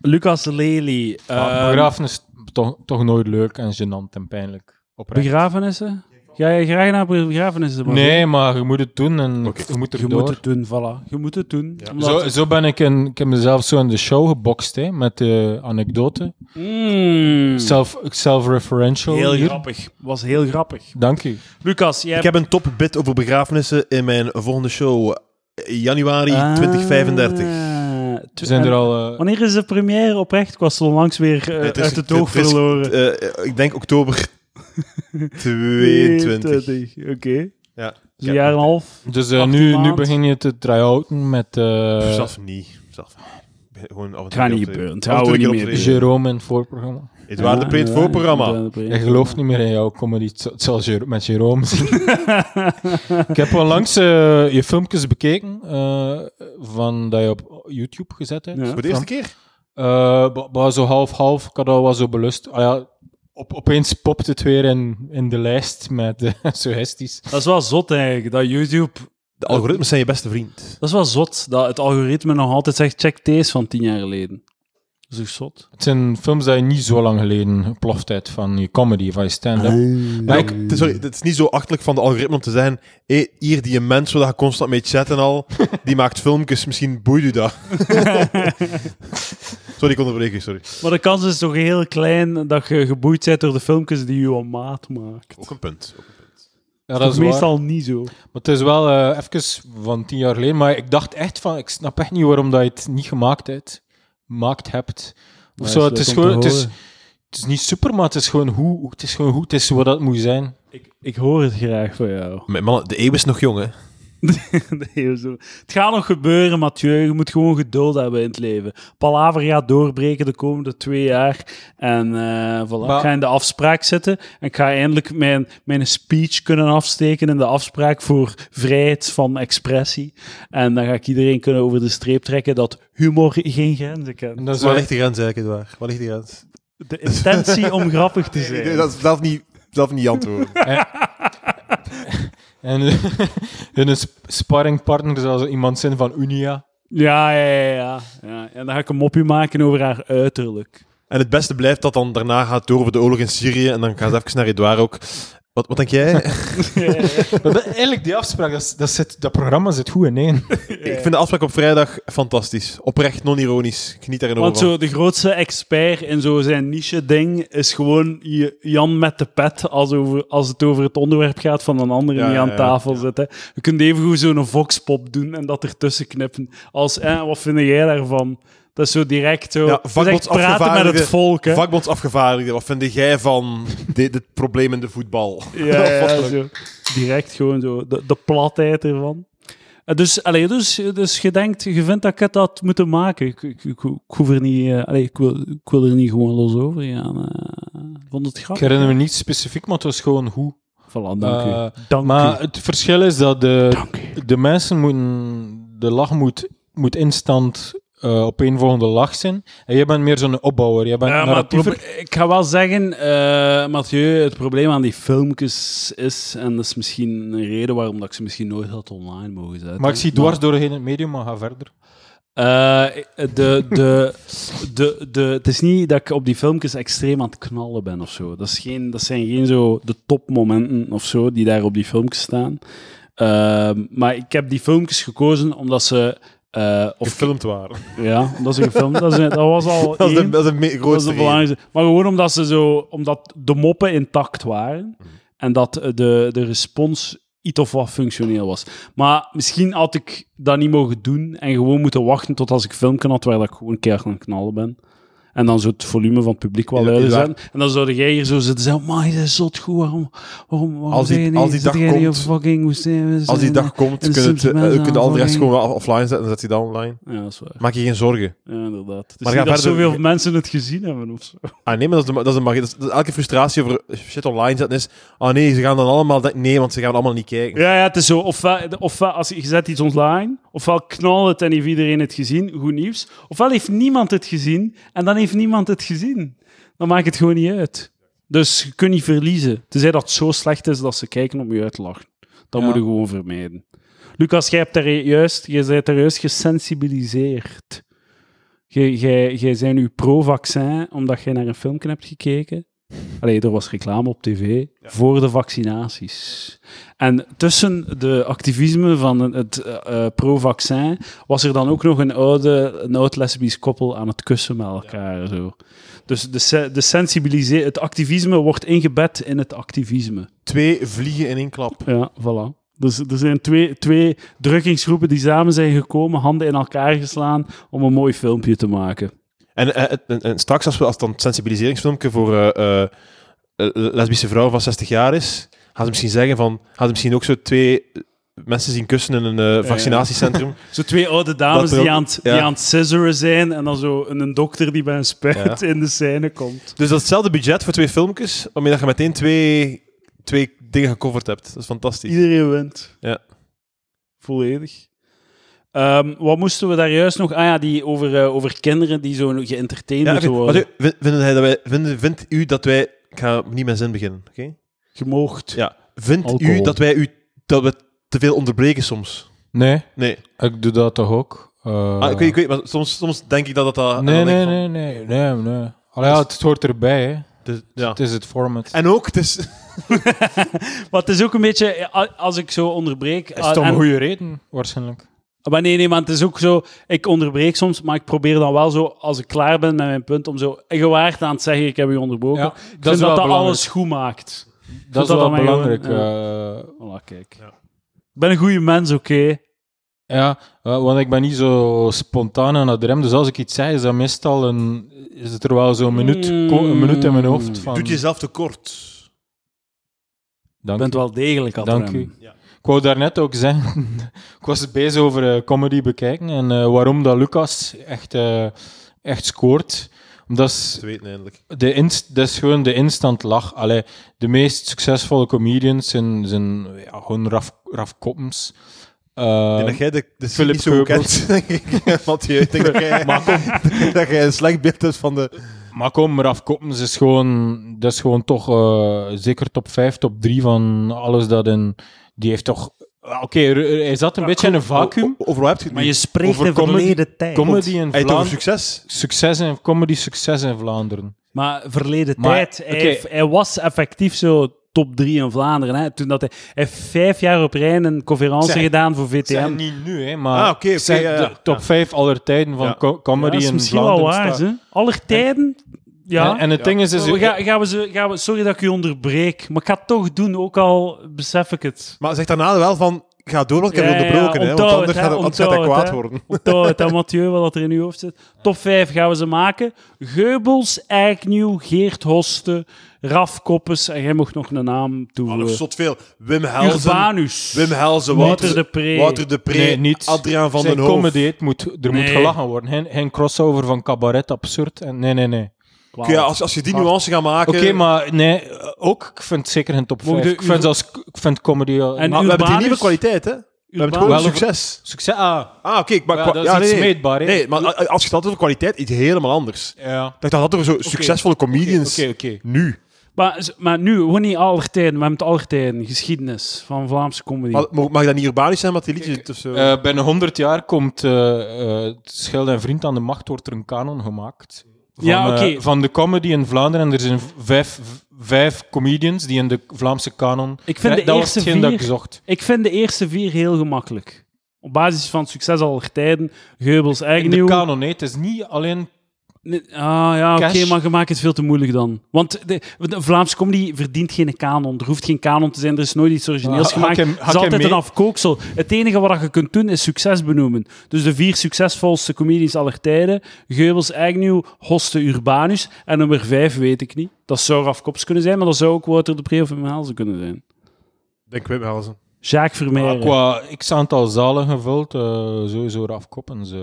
Lucas Lely. Maar ehm, begrafenis toch, toch nooit leuk en gênant en pijnlijk. Oprecht. begrafenissen? Ga je graag naar begrafenissen? Marvin? Nee, maar je moet het doen en Oké. je moet er Je door. moet het doen, voilà. Je moet het doen. omdat- Zo, zo ben ik, in, ik heb mezelf zo in de show gebokst, hè, met de anekdote. Mm. Self, self-referential. Heel hier. grappig. Was heel grappig. Dank u. Lucas, jij Ik hebt... heb een top bit over begrafenissen in mijn volgende show. eh, Januari Ah, 2035. tw- We zijn en er al... eh, Wanneer is de première oprecht? Ik was onlangs weer eh, Het is- uit het oog het is- verloren. Eh, eh, ik denk oktober 22. 22, Oké. Ja. Dus een jaar en een half. dus eh, 18 nu, nu maand. begin je te try-outen met eh, Zelf niet. Zelf niet. Gewoon af en toe Gaat niet een keer optreden. gebeuren. Het Af en houden toe we een niet keer meer. optreden. Jerome in het voorprogramma. Edouard de Preet voorprogramma. Ik geloof niet meer in jouw comedy. Het zal- Het zal Jer- met Jerome zijn. ik heb onlangs eh, je filmpjes bekeken eh, van dat je op YouTube gezet hebt. Ja. Voor de eerste keer? Eh, wa- wa- zo half-half, ik had al wel zo belust. Ah ja, op, opeens popt het weer in, in de lijst met eh, suggesties. Dat is wel zot eigenlijk, dat YouTube... De algoritmes zijn je beste vriend. Dat is wel zot, dat het algoritme nog altijd zegt check deze van tien jaar geleden. Dat is toch zot? Het zijn films die je niet zo lang geleden geploft hebt van je comedy, van je stand-up. Maar ik- Het is- Sorry, het is niet zo achterlijk van de algoritme om te zeggen hé, hier, die mens waar je constant mee chatten al, die maakt filmpjes, misschien boeit u dat. sorry, ik onderbreek je, sorry. Maar de kans is toch heel klein dat je geboeid bent door de filmpjes die je om maat maakt. Ook een punt. ja, dat is waar. meestal niet zo. Maar het is wel eh, even van tien jaar geleden, maar ik dacht echt van, ik snap echt niet waarom dat je het niet gemaakt hebt. Maakt hebt. Of zo, het is gewoon, het is, het is niet super, maar het is gewoon hoe, het is gewoon goed, het is wat dat moet zijn. Ik, ik hoor het graag van jou. Mijn mannen, de eeuw is nog jong, hè. Nee, zo. Het gaat nog gebeuren, Mathieu. Je moet gewoon geduld hebben in het leven. Palaver gaat doorbreken de komende twee jaar. En eh voilà. Maar- ik ga in de afspraak zitten. En ik ga eindelijk mijn, mijn speech kunnen afsteken in de afspraak voor vrijheid van expressie. En dan ga ik iedereen kunnen over de streep trekken dat humor geen grenzen En kent. dat is Waar wel ligt de grens eigenlijk, Edouard? Waar ligt de grens? De intentie om grappig te zijn. Nee, dat is zelf niet, zelf niet antwoorden. En hun sp- sparringpartner zal zo iemand zijn van Unia. Ja, ja, ja, ja, ja. En dan ga ik een mopje maken over haar uiterlijk. En het beste blijft dat dan daarna gaat door over de oorlog in Syrië en dan gaat ze even naar Edouard ook. Wat, wat denk jij? Maar dat- eigenlijk, die afspraak, dat, is- dat, zit, dat programma zit goed in één. Ik vind de afspraak op vrijdag fantastisch. Oprecht, non-ironisch. Ik geniet daarin Want over. zo, de grootste expert in zo zijn niche-ding is gewoon je- Jan met de pet als, over, als het over het onderwerp gaat van een andere Ja, die ja, aan ja. tafel zit. Hè. Je kunt evengoed zo'n voxpop doen en dat ertussen knippen. Als, eh, wat vind jij daarvan? Dat is zo direct zo. Ja, dat is echt praten met vakbondsafgevaardigde- het volk. Hè. Vakbondsafgevaardigde, wat vind jij van dit, dit probleem in de voetbal? Ja, ja, Vastelijk. zo. Direct gewoon zo. De, de platheid ervan. Eh, Dus, allee, dus, dus je denkt, je vindt dat ik het had moeten maken. Ik, ik, ik, ik hoef er niet, eh, allee, ik, wil, ik wil er niet gewoon los over gaan. eh. Ik vond het Ik grappig. herinner me niet specifiek, maar het was gewoon goed. Voilà, dank Eh, u. Dank Maar u. het verschil is dat de, Dank u. de mensen moeten... De lach moet, moet instant eh op een volgende lach zijn. En jij bent meer zo'n opbouwer. Jij bent Ja, Eh, maar het narratiever. proble- ik ga wel zeggen, eh, Mathieu, het probleem aan die filmpjes is, en dat is misschien een reden waarom dat ik ze misschien nooit had online mogen zetten. Maar ik zie dwars doorheen het medium, maar ga verder. Eh, de, de, de, de, het is niet dat ik op die filmpjes extreem aan het knallen ben of zo. Dat, is geen, dat zijn geen zo de topmomenten of zo die daar op die filmpjes staan. Ehm, maar ik heb die filmpjes gekozen omdat ze. eh, of, Gefilmd waren. ja, omdat ze gefilmd dat, is- dat was al. Dat is de, één. dat is de me- Dat is grootste de reden. belangrijkste. Maar gewoon omdat ze zo, omdat de moppen intact waren Mhm. en dat eh, de, de respons iets of wat functioneel was. Maar misschien had ik dat niet mogen doen en gewoon moeten wachten tot als ik filmpje had waar dat ik gewoon keihard aan het knallen ben. En dan zo het volume van het publiek wel Ja, luider ja. zijn. En dan zou jij hier zo zitten zeggen, maar dat is zot goed, waarom, waarom, waarom Als die- zeg je niet- als die zit dag jij niet op komt- fucking Hoestijn? Als die dag komt, En de kunnen het, eh, Simpsons eh, kunnen al de rest aanvangen. gewoon wel offline zetten en zet hij dan online. Ja, dat is waar. Maak je geen zorgen. Ja, inderdaad. Het is Maar niet ga dat verder. zoveel mensen het gezien hebben of zo. Ah nee, maar dat is de, ma- dat is de magie. Dat is- dat is elke frustratie over shit online zetten is, ah nee, ze gaan dan allemaal, dat- nee, want ze gaan allemaal niet kijken. Ja, ja, het is zo. Ofwel, ofwel als je je zet iets online, ofwel knal het en heeft iedereen het gezien, goed nieuws. Ofwel heeft niemand het gezien en dan heeft niemand het gezien. Dan maakt het gewoon niet uit. Dus je kunt niet verliezen. Tenzij dat het zo slecht is dat ze kijken om je uit te lachen. Dat Ja. moet je gewoon vermijden. Lucas, jij, hebt er juist, jij bent er juist gesensibiliseerd. Jij- Jij jij bent nu pro-vaccin omdat jij naar een filmpje hebt gekeken. Allee, er was reclame op tv voor de vaccinaties. En tussen de activisme van het eh, eh, pro-vaccin was er dan ook nog een, oude, een oud lesbisch koppel aan het kussen met elkaar. Zo. Dus de, se- de sensibilise- het activisme wordt ingebed in het activisme. Twee vliegen in één klap. Ja, voilà. Dus er zijn twee, twee drukkingsgroepen die samen zijn gekomen, handen in elkaar geslaan om een mooi filmpje te maken. En, eh, het- en, en straks, als we als het dan het sensibiliseringsfilmpje voor eh, eh, eh, lesbische vrouwen van 60 jaar is, gaan ze misschien zeggen van, gaan ze misschien ook zo twee eh, mensen zien kussen in een eh, vaccinatiecentrum. Zo twee oude dames Dat er die, ook- aan het, ja. die aan het scissoren zijn en dan zo een, een dokter die bij een spuit in de scène komt. dus dat is hetzelfde budget voor twee filmpjes, waarmee dat je meteen twee, twee dingen gecoverd hebt. Dat is fantastisch. Iedereen wint. Ja. Volledig. Ehm, wat moesten we daar juist nog... Ah ja, die over, eh, over kinderen die zo geëntertained Ja, moeten oké. eh, worden. Wat u- vin- vinden hij dat wij, vinden, vindt u dat wij... Ik ga niet mijn zin beginnen, oké? Gemoogd. Ja. Vindt u Alcohol. dat wij u dat we te veel onderbreken soms? Nee, Nee. ik doe dat toch ook. Eh, Ah, ik, weet, ik weet, maar soms, soms denk ik dat dat... ah, dat en Nee, dan denk nee, ik van- nee, nee, nee, nee. Allee, ja, het hoort erbij, hè. Dus, ja. Het is het format. En ook, het is... Maar het is ook een beetje... eh, a- Als ik zo onderbreek... is ah, toch en- een goede reden, waarschijnlijk. Maar nee, nee, maar het is ook zo... Ik onderbreek soms, maar ik probeer dan wel zo, als ik klaar ben met mijn punt, om zo gewaard aan te zeggen, ik heb u onderbroken. Ja, ik dat vind is dat wel dat belangrijk. alles goed maakt. Dat dat is wel dan maar belangrijk. gewoon, eh, Voilà, kijk. Ja. Ik ben een goede mens, oké. Ja, eh, want ik ben niet zo spontaan aan het rem. Dus als ik iets zeg, is dat meestal een... Is het er wel zo'n minuut, ko- Mm. een minuut in mijn hoofd van... Doet jezelf tekort. Je Dank bent u. wel degelijk aan het Dank remmen. u. Ja. Ik wou daarnet ook zeggen... ik was bezig over eh, comedy bekijken en eh, waarom dat Lucas echt, eh, echt scoort. Omdat is- Ze weten eindelijk. de inst, dat is gewoon de instant lach. Allee, de meest succesvolle comedians zijn, zijn ja, gewoon Raf, Raf Koppens. Eh, ik denk dat jij de, de Philip scene niet zo goed Goebbels. kent, denk ik. Mathieu, ik denk dat jij, dat jij een slecht beeld hebt van de... Maar kom, Raf Koppens is gewoon, dat is gewoon toch eh, zeker top 5, top 3 van alles dat in. Die heeft toch. Ah, Oké, r- hij zat een beetje in een vacuüm. O- o- Overal heb je het Maar nu. je spreekt Over de comedy- verleden tijd. Comedy in Hij heeft over Vlaanderen. succes. Succes in, comedy succes in Vlaanderen. Maar verleden Maar, tijd. Hij, oké. hij was effectief zo top 3 in Vlaanderen. Hè, toen dat hij, hij heeft vijf jaar op rij een conferentie Zeg- gedaan voor VTM. Zeg niet nu, hè, maar Ah, oké, oké, ik zeg ja, ja. de top 5 aller tijden van Ja. co- Ja, comedy dat is in misschien Vlaanderen. wel waar, staat. hè? Aller tijden? Ja. En, en het Ja. ding is, is we gaan, gaan we ze, gaan we, sorry dat ik u onderbreek, maar ik ga het toch doen, ook al besef ik het. Maar zeg daarna wel van, ga door, want ik heb Ja, je ja, onderbroken. hè, want onthoud anders het, gaat, hè, anders gaat hij onthoud kwaad het, hè. worden. Onthoud het, hè, Mathieu, wat er in uw hoofd zit. Top 5 gaan we ze maken. Geubels, Eiknieuw, Geert Hoste, Raf Koppes, en jij mocht nog een naam Maar nog toevoegen. zot veel. Wim Helzen. Urbanus. Wim Helzen, Wouter Wouter de Pre. Wouter de Pre. Nee, niet. Adriaan van zijn den Hoof. comedy, het moet, er moet Nee. gelachen worden. Geen, geen crossover van cabaret absurd. En, nee, nee, nee. Wauw. Oké, ja, als, als je die nuance gaat maken... Oké, maar nee, eh, ook, ik vind het zeker een top Mogen 5. de Ik vind, Ur- zelfs, ik vind comedy... eh, En Maar we hebben die Urbanus- nieuwe kwaliteit, hè. We hebben Urbanus- gewoon Wel, succes. Succes. Ah, Ah, oké. maar Ja, kwa- dat is iets nee, nee. meetbaar, hè. Nee, maar a- a- als je het altijd over kwaliteit, iets helemaal anders. ja. Ik dacht dat er zo succesvolle comedians Oké, oké. nu. Maar, z- maar nu, gewoon niet aller tijden, we hebben het aller tijden. Geschiedenis van Vlaamse comedy. Maar, mag, mag dat niet urbanisch zijn, wat die liedjes doet of zo? Eh, binnen 100 jaar komt eh, eh, het Schild en Vriend aan de Macht, wordt er een kanon gemaakt. Van, Ja, oké. eh, van de comedy in Vlaanderen. En er zijn v- vijf, v- vijf comedians die in de Vlaamse kanon... Ik vind Ja, de dat was eerste hetgeen dat vier- ik zocht. Ik vind de eerste vier heel gemakkelijk. Op basis van succes aller tijden, Geubels, In de Eiknieuw. kanon, nee. Het is niet alleen... Nee, Ah ja, oké, Cash. maar je maakt het veel te moeilijk dan. Want de, de Vlaamse comedy verdient geen kanon. Er hoeft geen kanon te zijn, er is nooit iets origineels Ah, hak gemaakt. hem- Het hak is hem altijd mee. een afkooksel. Het enige wat je kunt doen is succes benoemen. Dus de vier succesvolste comedies aller tijden: Geubels, Agnew, Hoste, Urbanus. En nummer vijf weet ik niet. Dat zou Raf Kops kunnen zijn, maar dat zou ook Wouter de Pre of Wim Helzen kunnen zijn. Denk Wim Helsen. Jacques Vermeijeren. Ah, Qua x-aantal zalen gevuld, eh, sowieso Raf Koppens. eh.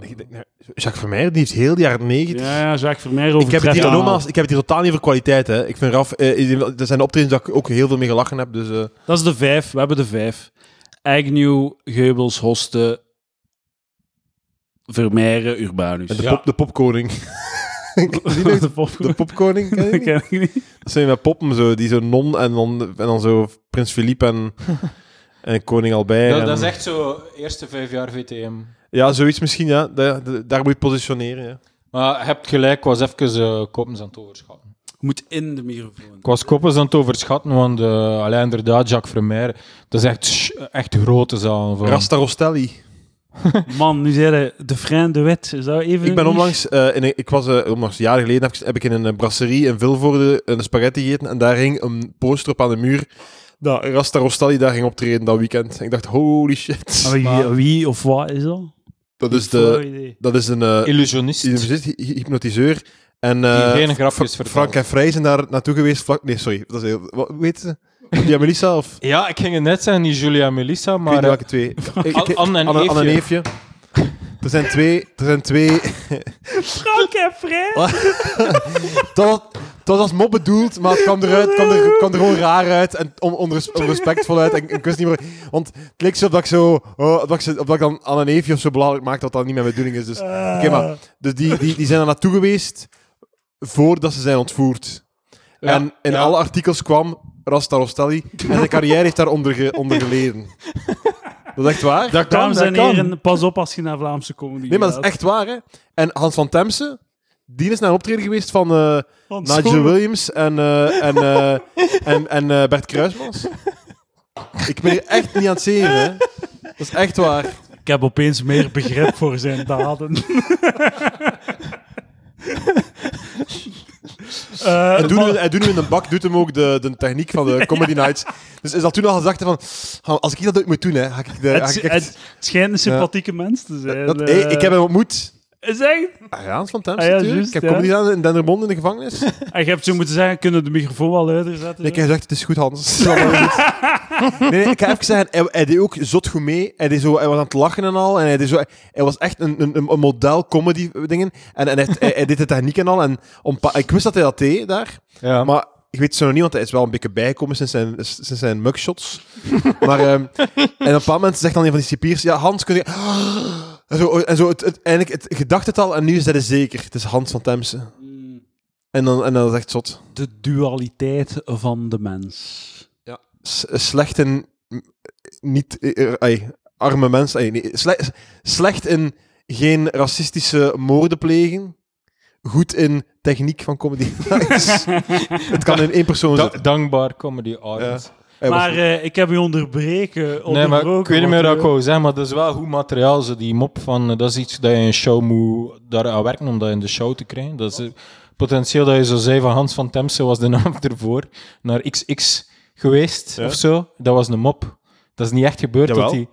Ik denk, nou, Jacques Vermeijer, die heeft heel de jaren negentig... ja, ja, Jacques Vermeijeren ik heb het overtreft hier, allemaal. nogmaals, ik heb het hier totaal niet voor kwaliteit, hè. Ik vind Raf... eh, er zijn optredens dat ik ook heel veel mee gelachen heb, dus... eh, Dat is de vijf. We hebben de vijf. Agnew, Geubels, Hoste, Vermeijeren, Urbanus. en de, Ja. pop, de popkoning. Die nog? de de popcorn. popkoning, ken je Dat die? ken ik niet. Dat zijn met poppen, zo, die zo non en dan, en dan zo prins Philippe en, en koning Albert. Dat, dat en- is echt zo eerste vijf jaar VTM. Ja, zoiets misschien, ja. Da- da- daar moet je het positioneren, ja. Maar je hebt gelijk, ik was even eh koppens aan het overschatten. Je moet in de microfoon. Ik was koppens aan het overschatten, want eh allee, inderdaad, Jacques Vermeer, dat is echt, sch- echt grote zaal. Van. Rasta Rostelli. Man, nu zeiden de Frein de Wet. Is dat even Ik ben een- onlangs, eh, in een- ik was eh, onlangs jaren geleden, heb ik, heb ik in een eh, brasserie in Vilvoorde een spaghetti gegeten en daar hing een poster op aan de muur dat Rasta Rostelli daar ging optreden dat weekend. En ik dacht, holy shit. Ah, wie, Maar- wie of wat is dat? dat, is Flauw Dus de, idee. dat is een eh, Illusionist. hypnotisist, hy- hy- hypnotiseur. En, eh, die geen grapjes Fra- vertelt. Frank en Vrij zijn daar naartoe geweest. Vlak, nee, sorry. Dat is heel, wat, weet ze? Ja, Melissa of... Ja, ik ging het net zeggen, niet Julia en Melissa, Ik weet maar... niet welke twee. Ik- ik- Anne en Anne- Anne en Eefje. Eefje. Er zijn twee... Er zijn twee... Frank en Frein? Het was, het was als mop bedoeld, maar het kwam eruit, het kwam er, het kwam er gewoon raar uit en on, onres- onrespectvol uit. En, ik wist niet meer... Want het leek zo op dat ik zo... oh, op dat ik, ze- op dat ik dan Anne en Eefje of zo belachelijk maak dat dat niet mijn bedoeling is. Dus, Oké, maar... Dus die, die, die zijn daar naartoe geweest voordat ze zijn ontvoerd. Ja, en in ja. alle artikels kwam Rasta Rostelli en zijn carrière heeft daaronder ge- onder geleden. Dat is echt waar. Dat kan, Dames dat en kan. heren, pas op als je naar Vlaamse comedy Nee, maar dat gaat. is echt waar, hè. En Hans van Temse, die is naar een optreden geweest van eh, Want Nigel zo- Williams en, eh, en, eh, en, en eh, Bert Kruismans. Ik ben hier echt niet aan het zeven, hè. Dat is echt waar. Ik heb opeens meer begrip voor zijn daden. Eh, En doen maar- we, en doen we in een bak, doet hem ook de, de techniek van de Comedy Nights. Dus is dat toen al gezegd van, "Ah, als ik dat ooit moet doen, hè, ga ik de... ga het, ik echt- het schijnt een sympathieke mens te zijn. ah, dat, eh. hey, ik heb hem ontmoet. Is echt? Ah, ja, Hans van Temse Ah, ja, natuurlijk. juist, ik heb ja. comedy gedaan in Dendermonde in de gevangenis. Nee, En Ah, je hebt zo moeten zeggen, kunnen we de microfoon wel luider zetten? ik heb gezegd, het is goed, Hans. Het is allemaal goed. nee, nee, ik ga even zeggen, hij, hij deed ook zot goed mee. Hij, deed zo, hij was aan het lachen en al. En hij, deed zo, hij was echt een, een, een model comedy dingen. En, en hij, hij, hij deed de techniek en al. En om, pa- ik wist dat hij dat deed daar. eh, Ja. Maar ik weet zo nog niet, want hij is wel een beetje bijgekomen sinds zijn, sinds zijn mugshots. maar ehm, en op een bepaald moment zegt dan een van die cipiers, ja, Hans, kun je... En zo, en zo het, het, eigenlijk, het, je dacht het al en nu is dat het zeker. Het is Hans van Temse. En dan, en dan is het echt zot. Mm. De dualiteit van de mens. S- slecht in... m- Niet... eh, eh, ai, arme mens. ai, nee, slecht, slecht in geen racistische moorden plegen. Goed in techniek van comedy. het kan in één persoon Da- zitten. dankbaar comedy arts. Hij was- Maar eh, ik heb u onderbreken. Nee, maar ik onderbroken, weet niet meer wat want, ik wou zeggen, maar dat is wel goed materiaal. Zo, die mop van, eh, dat is iets dat je in een show moet daaraan werken om dat in de show te krijgen. Dat is eh, potentieel dat je zo zei van Hans van Temse was de naam ervoor, naar XX geweest Ja. of zo. Dat was een mop. Dat is niet echt gebeurd. Jawel. Dat die...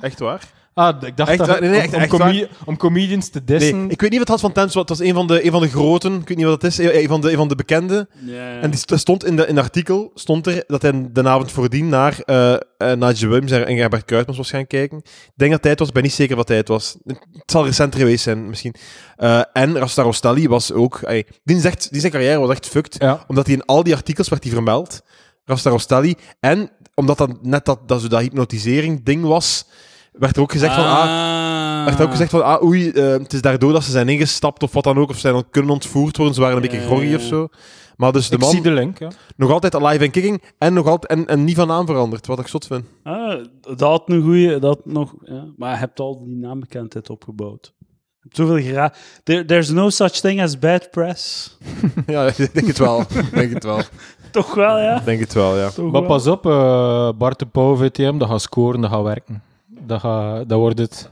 Echt waar? Ah, d- ik dacht Echt dat waar? Nee, nee, om- echt- om, echt comedi- om comedians te dissen. Nee, ik weet niet wat Hans van Temse was. Het was een van de, een van de groten. Ik weet niet wat het is. Een een van de, een van de bekende. eh, ja, ja. En die st- stond in, de, in het artikel stond er dat hij de avond voordien naar eh eh, Nigel Williams en Herbert Kruijtmans was gaan kijken. Ik denk dat hij het was. Ik ben niet zeker wat hij het was. Het zal recenter geweest zijn, misschien. Eh, en Rasta Rostelli was ook... ey, die, is echt, die zijn carrière was echt fucked. Ja. Omdat hij in al die artikels werd hij vermeld. Rasta Rostelli. En omdat dat net dat, dat, zo dat hypnotisering-ding was, werd er ook gezegd van... Ah, werd ook gezegd van, ah, oei, eh, het is daardoor dat ze zijn ingestapt of wat dan ook, of ze zijn kunnen ontvoerd worden, ze waren een beetje Ja, groggy ja, of ja. zo. Maar dus de Ik zie man, de link. Ja. nog altijd alive en kicking, en, nog altijd, en, en niet van naam veranderd, wat ik zot vind. Ah, dat had een goeie, dat nog... Ja. Maar je hebt al die naambekendheid opgebouwd. Je hebt zoveel gera... There- there's no such thing as bad press. ja, ik denk het wel, Ik denk het wel, Ik Toch wel, ja? denk het wel, ja. Toch Maar wel. pas op, eh, Bart de Pauw, VTM, dat gaat scoren, dat gaat werken. Dat, gaat, dat wordt het.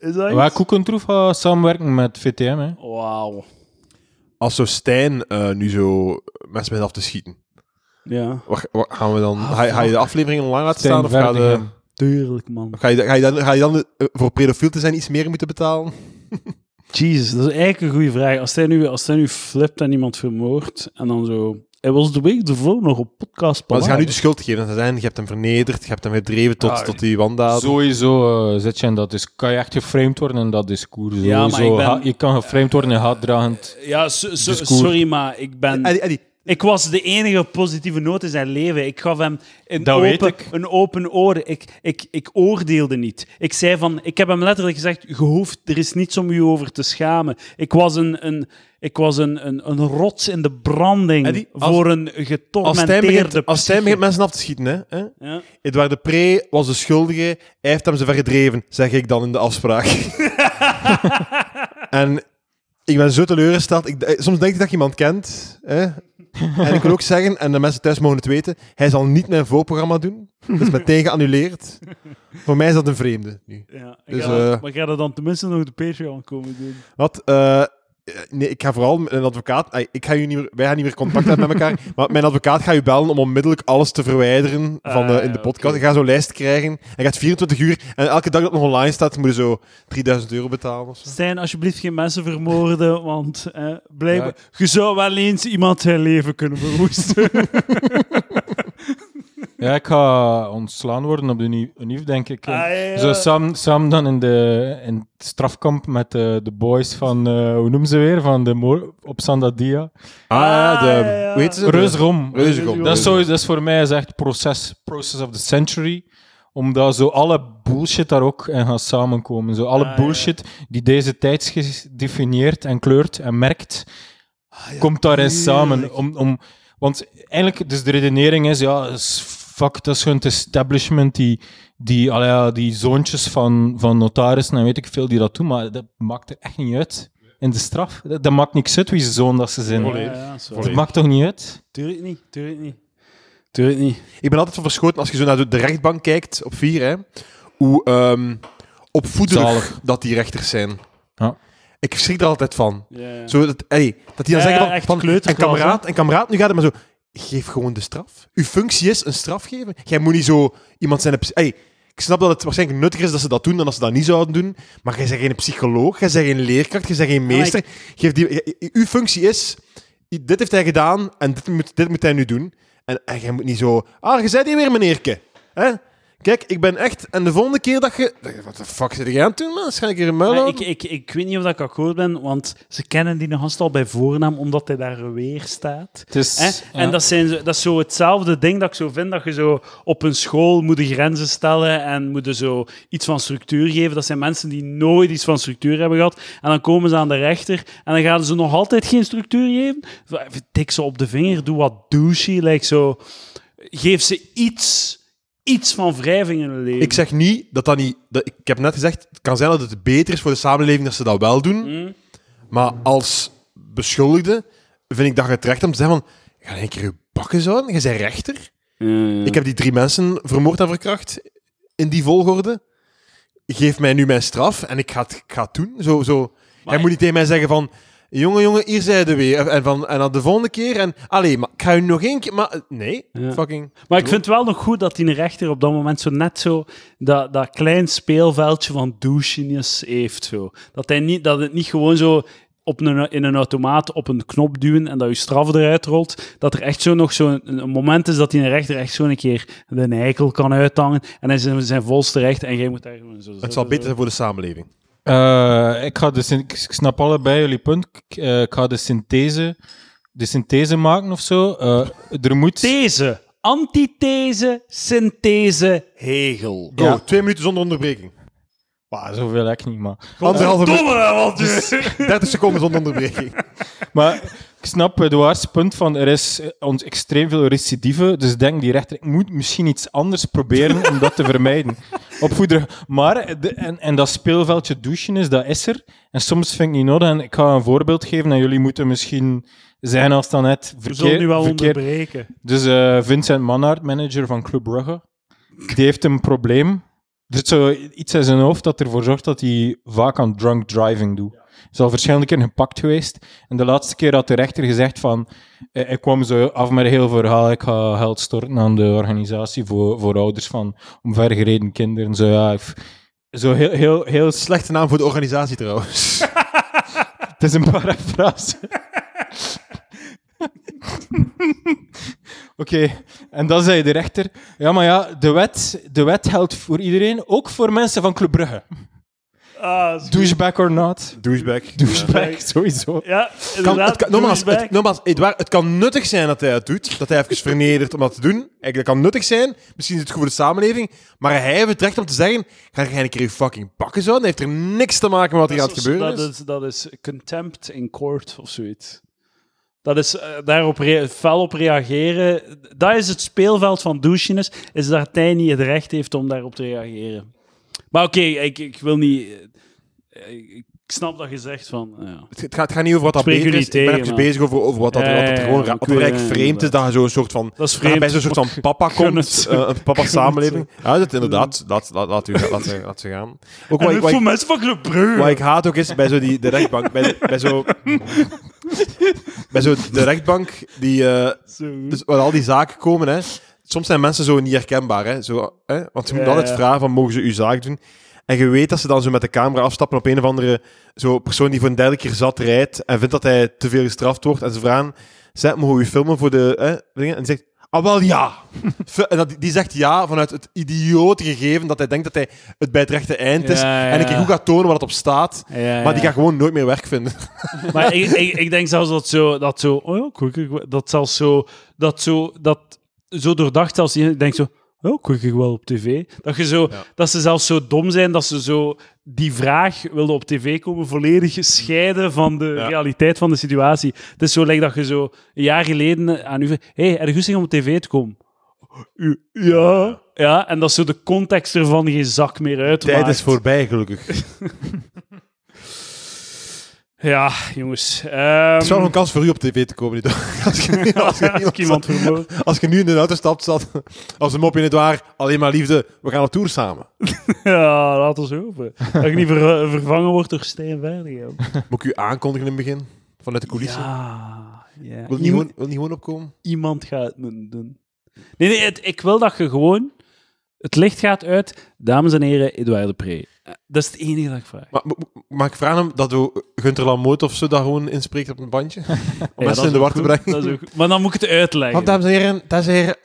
Is dat Waar iets? Koekentroef gaat samenwerken met VTM. Hè. Wauw. Als zo Stijn eh, nu zo mensen met af te schieten, Ja. wat, wat gaan we dan, ga, je- ga je de aflevering online laten Stijn staan, of ga je, Verdegem. Tuurlijk, man. ga, je, ga, je dan, ga je dan eh, voor pedofiel te zijn iets meer moeten betalen? Jezus, dat is eigenlijk een goede vraag. Als hij, nu, als hij nu flipt en iemand vermoordt en dan zo... Hij was de week ervoor nog op podcast Maar ze gaan nu de Palaver. schuld geven, en ze zijn, je hebt hem vernederd, je hebt hem gedreven tot, Ah, tot die wandaden. Sowieso eh, zit je in dat is, kan je echt geframed worden in dat discours. Ja, maar Sowieso. ik ben- Ha- je kan geframed worden in haatdragend. Ja, so- so- Discours. sorry, maar ik ben... Eddie, Eddie, Ik was de enige positieve noot in zijn leven. Ik gaf hem een, Dat open, weet ik. een open oor. Ik, ik, ik oordeelde niet. Ik zei van... Ik heb hem letterlijk gezegd, je hoeft, er is niets om u over te schamen. Ik was een, een, ik was een, een, een rots in de branding Eddie, als- voor een Als Stijn getormenteerde... begint, als Stijn begint mensen af te schieten, hè, hè? Ja. Edouard de Pre was de schuldige, hij heeft hem zover gedreven, zeg ik dan in de afspraak. en ik ben zo teleurgesteld. Ik, eh, soms denk ik dat ik iemand kent. Hè? En ik wil ook zeggen, en de mensen thuis mogen het weten, hij zal niet mijn voorprogramma doen. Dat is meteen geannuleerd. Voor mij is dat een vreemde nu. Ja, Dus, ga- eh, maar ga er dan tenminste nog de Patreon komen doen? Wat? eh, nee, ik ga vooral met een advocaat. ey, Ik ga u niet meer, wij gaan niet meer contact hebben met elkaar. Maar mijn advocaat gaat u bellen om onmiddellijk alles te verwijderen van de, Ah, in de ja, podcast. Ik ga zo'n lijst krijgen. Hij gaat 24 uur. En elke dag dat het nog online staat, moet je zo 3000 euro betalen of zo. Stijn, alsjeblieft geen mensen vermoorden, want eh, blijkbaar... Ja. Je zou wel eens iemand zijn leven kunnen verwoesten. Ja, ik ga ontslaan worden op de nieuw, nieuw denk ik. Ah, ja. Zo Sam, Sam dan in, de, in het strafkamp met eh, de, de boys van, eh, hoe noemen ze weer, van de moor- op Sandadia. Ah, ja, de, ja. Hoe heet ze? Reusrom. Reuzegom. Dat is, zo, dat is voor mij is echt proces, process of the century. Omdat zo alle bullshit daar ook in gaat samenkomen. Zo alle Ah, ja. bullshit die deze tijdsgeest definieert en kleurt en merkt, komt daarin samen. Om, om, want eigenlijk, dus de redenering is, ja, is fuck, dat is gewoon het establishment die, die, allee, ja, die zoontjes van, van notarissen en weet ik veel die dat doen, maar dat maakt er echt niet uit. In de straf, dat, dat maakt niks uit wie zijn zoon dat ze zijn. Ja, Volledig. ja, sorry. Dat maakt toch niet uit? Tuurlijk niet, tuurlijk niet. Tuurlijk niet. Ik ben altijd van verschoten als je zo naar de- de rechtbank kijkt op 4, hè, hoe ehm opvoederig Zalig. dat die rechters zijn. Ja. Ik schrik er altijd van. Ja, ja. Zo dat, ey, dat die dan Ja, zeggen ja, van, echt van een, kleuterklas, kameraad, een kameraad, nu gaat het maar zo, geef gewoon de straf. Uw functie is een straf geven. Jij moet niet zo iemand zijn... psy- Ey, ik snap dat het waarschijnlijk nuttiger is dat ze dat doen dan als ze dat niet zouden doen, maar jij bent geen psycholoog, jij bent geen leerkracht, jij bent geen maar meester. Geef die, j- uw functie is, i- dit heeft hij gedaan en dit moet, dit moet hij nu doen. En, en jij moet niet zo, ah, je bent hier weer meneerke. Hè? Kijk, ik ben echt... En de volgende keer dat je... Wat de fuck zit jij aan het doen, man? Waarschijnlijk hier een muil Maar houden? ik, ik, ik weet niet of dat ik akkoord ben, want ze kennen die gast al bij voornaam, omdat hij daar weer staat. Het is, Hè? En ja. dat, zijn, zo- dat is zo hetzelfde ding dat ik zo vind, dat je zo op een school moet de grenzen stellen en moet er zo iets van structuur geven. Dat zijn mensen die nooit iets van structuur hebben gehad. En dan komen ze aan de rechter en dan gaan ze nog altijd geen structuur geven. Zo, even Tik ze op de vinger, doe wat douchey, like zo. Geef ze iets, iets van wrijving in hun leven. Ik zeg niet dat dat niet. Dat, ik heb net gezegd, het kan zijn dat het beter is voor de samenleving dat ze dat wel doen. Mm. Maar als beschuldigde vind ik dat je het recht hebt om te zeggen van. Ga in één keer je bakken zouden? Je bent rechter. Mm. Ik heb die drie mensen vermoord en verkracht in die volgorde. Geef mij nu mijn straf en ik ga het, ik ga het doen. Zo, zo. Hij moet niet tegen mij zeggen van. Jongen, jongen, hier zijn we weer. En, van, en dan de volgende keer. En, allee, maar ik ga u nog één keer... Maar, eh, nee, Ja. fucking... Maar ik vind het wel nog goed dat die rechter op dat moment zo net zo dat, dat klein speelveldje van douchiness heeft. Zo. Dat, hij niet, dat het niet gewoon zo op een, in een automaat op een knop duwen en dat je straf eruit rolt. Dat er echt zo nog zo'n een, een moment is dat die rechter echt zo een keer de eikel kan uithangen. En hij is in zijn volste recht en jij moet daar gewoon zo Het zal beter zijn voor de samenleving. Eh, ik, ga de, syn- ik ik snap allebei jullie punt. Ik, eh, ik ga de synthese, de synthese maken of zo. Eh, er moet. These, antithese, synthese, hegel. Go, Ja. twee minuten zonder onderbreking. Bah, zoveel heb ik niet, maar. Anderhalve minuut. Domme, want dus... 30 seconden zonder onderbreking. Maar ik snap Eduards punt van er is eh, ons extreem veel recidive. Dus denk die rechter, ik moet misschien iets anders proberen om dat te vermijden. Opvoeder. Maar, eh, de- en, en dat speelveldje douchen is, dat is er. En soms vind ik niet nodig. En ik ga een voorbeeld geven en jullie moeten misschien zijn als dan net We verkeerd. zullen nu wel verkeerd- onderbreken. Dus eh, Vincent Mannaert, manager van Club Brugge, die heeft een probleem. Er zit zo iets in zijn hoofd dat ervoor zorgt dat hij vaak aan drunk driving doet. Is al verschillende keren gepakt geweest. En de laatste keer had de rechter gezegd van... eh, ik kwam zo af met een heel verhaal. Ik ga geld storten aan de organisatie voor, voor ouders van omvergereden kinderen. Zo, ja, ik- zo heel, heel, heel Slechte naam voor de organisatie trouwens. het is een paraphrase. Oké, en dan zei de rechter: Ja, maar ja, de wet, de wet geldt voor iedereen, ook voor mensen van Club Brugge. Ah, Ah, is goed. Douchebag or not. Douchebag. Douchebag, sowieso. Ja, Kan, het inderdaad. kan, nogmaals, douchebag. het, nogmaals Edouard, het kan nuttig zijn dat hij het doet. Dat hij even vernedert om dat te doen. Eigenlijk, Dat kan nuttig zijn. Misschien is het goed voor de samenleving. Maar hij heeft het recht om te zeggen... Ga jij een keer je fucking pakken zo? Dat heeft er niks te maken met wat er Dat gaat is- gebeuren. Dat is. is, dat is contempt in court of zoiets. Dat is eh, daarop rea- fel op reageren. Dat is het speelveld van douchiness. Is dat hij niet het recht heeft om daarop te reageren. Maar oké, ik, ik wil niet. eh, Ik ik snap dat je zegt van. ja. Het, het gaat, het gaat niet over wat dat Spreek beter jullie is. Ik ben tegen, even maar- bezig over, over wat dat, Ja, wat ja, dat ja, gewoon ja, ra- ik wat weet- eigenlijk ja, vreemd is. Dat je zo'n soort van... Dat is Dat je bij vreemd. zo'n soort van papa Gun komt. het. eh, Een papa-samenleving. Ja, dat inderdaad. Laat, laat, laat, u, laat, ze- laat ze gaan. Ook wat En ik- ik wat ik- voel mensen van Club Brugge. Wat ik haat ook is bij zo die de rechtbank. Bij, de- bij zo. bij zo de rechtbank die. eh, Zo. dus waar al die zaken komen, hè. Soms zijn mensen zo niet herkenbaar, hè. Zo, hè? Want ze moeten Ja, altijd ja. vragen van, mogen ze uw zaak doen? En je weet dat ze dan zo met de camera afstappen op een of andere zo persoon die voor een derde keer zat rijdt en vindt dat hij te veel gestraft wordt. En ze vragen, zeg, mogen we u filmen voor de... Hè, dingen? En die zegt, ah, wel ja. Fi- en dat, die zegt ja vanuit het idiote gegeven dat hij denkt dat hij het bij het rechte eind is. Ja, ja. En ik goed gaat tonen wat het op staat. Ja, Maar die ja. gaat gewoon nooit meer werk vinden. Maar ik, ik, ik denk zelfs dat zo, dat zo, oh ja, quick, quick, dat zelfs zo, dat zo, dat zo doordacht als je denkt zo, oh, kijk ik wel op tv. Dat, je zo, Ja. dat ze zelfs zo dom zijn dat ze zo die vraag wilden op tv komen volledig gescheiden van de Ja. realiteit van de situatie. Het is zo like dat je zo een jaar geleden aan u vraagt, hé, hey, er goesting om op tv te komen? U- Ja. Ja, en dat zo de context ervan geen zak meer uitmaakt. Tijd is voorbij, gelukkig. Het Ja, jongens. ehm, is wel een kans voor u op tv te komen. dit- Als je, als je als ik iemand iemand vermoord. Als je nu in de auto stapt, zat als een mopje in het waar, alleen maar liefde, we gaan op tour samen. Ja, laat ons hopen. Dat ik niet ver- vervangen wordt door Stijn Verdië. Moet ik u aankondigen in het begin? Vanuit de coulissen? Ja, ja. Wil, je niet Iemand, gewoon, wil je niet gewoon opkomen? iemand gaat het moeten doen. Nee, nee, het- ik wil dat je gewoon... Het licht gaat uit. Dames en heren, Edouard de Pre. Eh, Dat is het enige dat ik vraag. Maar, ma- ma- mag ik vragen hem dat we Gunter Lamoot of zo daar gewoon inspreekt op een bandje? Om Ja, dat mensen is in de war te ook goed, brengen. dat is ook goed. Maar dan moet ik het uitleggen. Want, en heren, dat is hier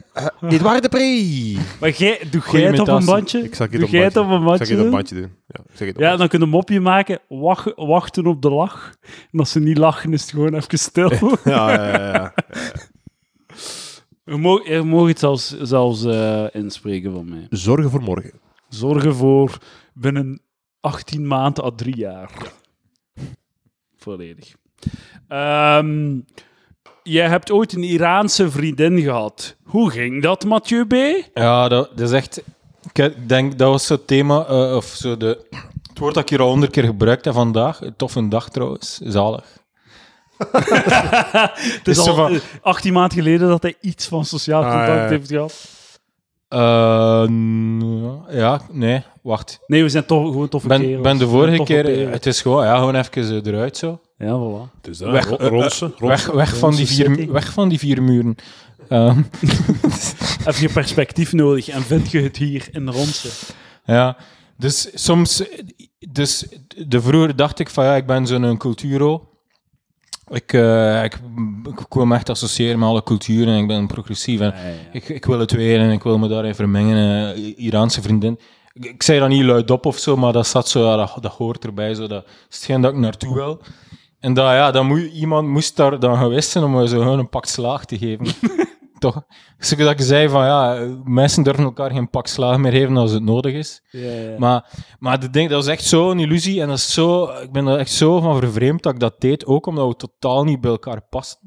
uh, Edouard de Pre. Maar jij, doe Goeie jij het op een imitatie. bandje? Ik zal het doe op jij het bandje. op een Ik bandje? zal je dat doen? bandje doen. Ja, ik zeg het Ja, op bandje. dan kunnen we een mopje maken. Wacht, wachten op de lach. En als ze niet lachen, is het gewoon even stil. ja, ja, ja, ja. Je mag, je mag het zelfs, zelfs eh, inspreken van mij. Zorgen voor morgen. Zorgen voor binnen 18 maanden à 3 jaar. Volledig. Ehm, jij hebt ooit een Iraanse vriendin gehad. Hoe ging dat, Mathieu B? Ja, dat, dat is echt... ik he- Ik denk, dat was het thema, eh, of zo de... Het woord dat ik hier al honderd keer gebruikt heb vandaag. Een toffe dag trouwens. Zalig. Het is Is zo al van- eh, 18 maanden geleden dat hij iets van sociaal Ah, contact ja, ja. heeft gehad. Eh, n- ja, nee, wacht. Nee, we zijn toch gewoon toffe ben, kerels. ben de We vorige zijn toffe keer... kerels. Het is gewoon, ja, gewoon even eh, eruit zo. Ja, voilà. Dus Weg- ro- ronsen. Weg, weg, van, die vier, City. mu- weg van die vier muren. Ehm, Heb je perspectief nodig en vind je het hier in Ronsen? ja, dus soms... Dus de vroeger dacht ik van, ja, ik ben zo'n culturo. Ik, eh, ik, ik wil me echt associëren met alle culturen en ik ben progressief. En ik, ik wil het weer en ik wil me daarin vermengen. eh, I- Iraanse vriendin. Ik, ik zei dat niet luidop of zo, maar dat zat zo, ja, dat, dat hoort erbij. Zo, dat is hetgeen dat ik naartoe wil. En dat, ja, dan moet, iemand moest daar dan geweest zijn om me zo hun een pak slaag te geven. Toch? Dus ik- dat ik zei van ja, eh, mensen durven elkaar geen pak slaag meer geven als het nodig is. Ja, ja. Maar, maar dat, ding, dat is echt zo'n illusie en dat is zo, ik ben er echt zo van vervreemd dat ik dat deed. Ook omdat we totaal niet bij elkaar passen.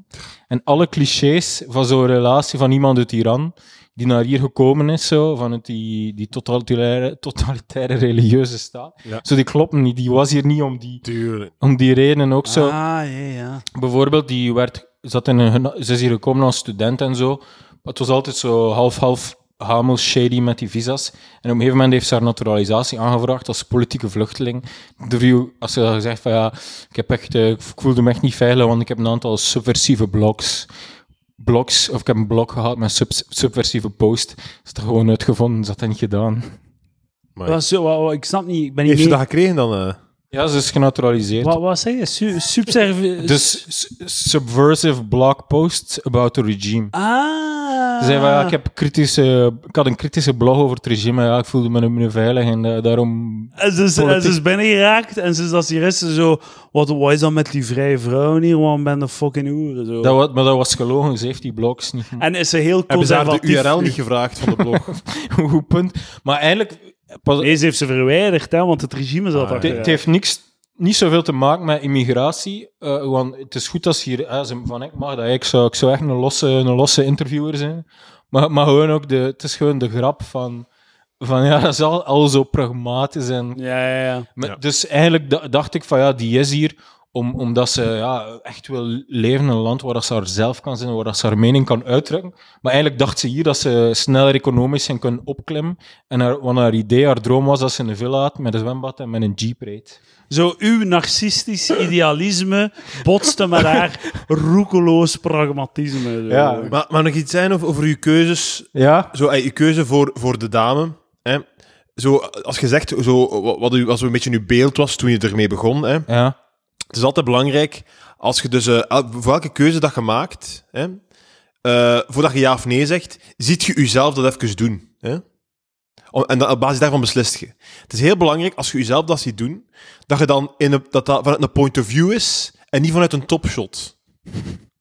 En alle clichés van zo'n relatie van iemand uit Iran die naar hier gekomen is, zo, van het, die, die totalitaire, totalitaire religieuze staat. Ja. Zo, die kloppen niet. Die was hier niet om die, Tuurlijk. om die reden ook zo. Ah, ja, ja. Bijvoorbeeld, die werd, zat in een, gena- ze is hier gekomen als student en zo. Maar Het was altijd zo half-half hamel shady met die visas. En op een gegeven moment heeft ze haar naturalisatie aangevraagd als politieke vluchteling. De vrouw, als ze had gezegd van ja, ik, heb echt, eh, ik voelde me echt niet veilig, want ik heb een aantal subversieve blogs. Blogs, of ik heb een blog gehad met subs- subversieve post. Is er gewoon uitgevonden, is dat niet gedaan. Dat is zo, wauw, ik snap niet, ik ben niet Heeft ze mee. dat gekregen dan? eh? Ja, ze is genaturaliseerd. Wat, wat zei je? Su subservi- Dus s- subversive blog posts about the regime. Ah. Ze zei van, ja, ik, heb kritische, ik had een kritische blog over het regime. Ja, ik voelde me niet meer veilig en eh, daarom... En ze, is, en Politiek. ze is binnengeraakt en ze is als die resten zo... Wat, wat is dat met die vrije vrouwen hier? Waarom ben de fucking hoeren? Zo. Dat was, maar dat was gelogen, ze heeft die blogs niet... En is ze heel Hebben ze haar de conservatief? URL niet gevraagd van de blog? Hoe punt. Maar eigenlijk... Pas, Nee, ze heeft ze verwijderd, hè, want het regime zat Ah, ja. achter. Het, het heeft niks, niet zoveel te maken met immigratie. eh, want het is goed als hier eh, ze- van ik mag dat. Ik zou, ik zou echt een losse, een losse interviewer zijn. Maar, maar gewoon ook de, het is gewoon de grap van, van ja, dat is al, al zo pragmatisch. En, Ja, ja, ja. Maar- Ja. Dus eigenlijk da- dacht ik van ja, die is hier om, omdat ze ja, echt wil leven in een land waar dat ze haarzelf kan zijn, waar dat ze haar mening kan uitdrukken. Maar eigenlijk dacht ze hier dat ze sneller economisch en kunnen opklimmen. En haar, want haar idee, haar droom was dat ze een villa had met een zwembad en met een jeep reed. Zo, uw narcistisch idealisme botste met haar roekeloos pragmatisme. zo. Ja. maar, maar nog iets zijn over, over uw keuzes Ja, zo, eh, je keuze voor, voor de dame. Hè? Zo, als je zegt, zo, wa- wat, u- wat zo een beetje uw beeld was toen je ermee begon. Hè? ja. Het is altijd belangrijk, als je dus, eh, el- voor elke keuze dat je maakt, hè, eh, voordat je ja of nee zegt, ziet je jezelf dat even doen. Hè? Om- En dan, op basis daarvan beslist je. Het is heel belangrijk, als je jezelf dat ziet doen, dat je dan in een, dat dat vanuit een point of view is en niet vanuit een topshot.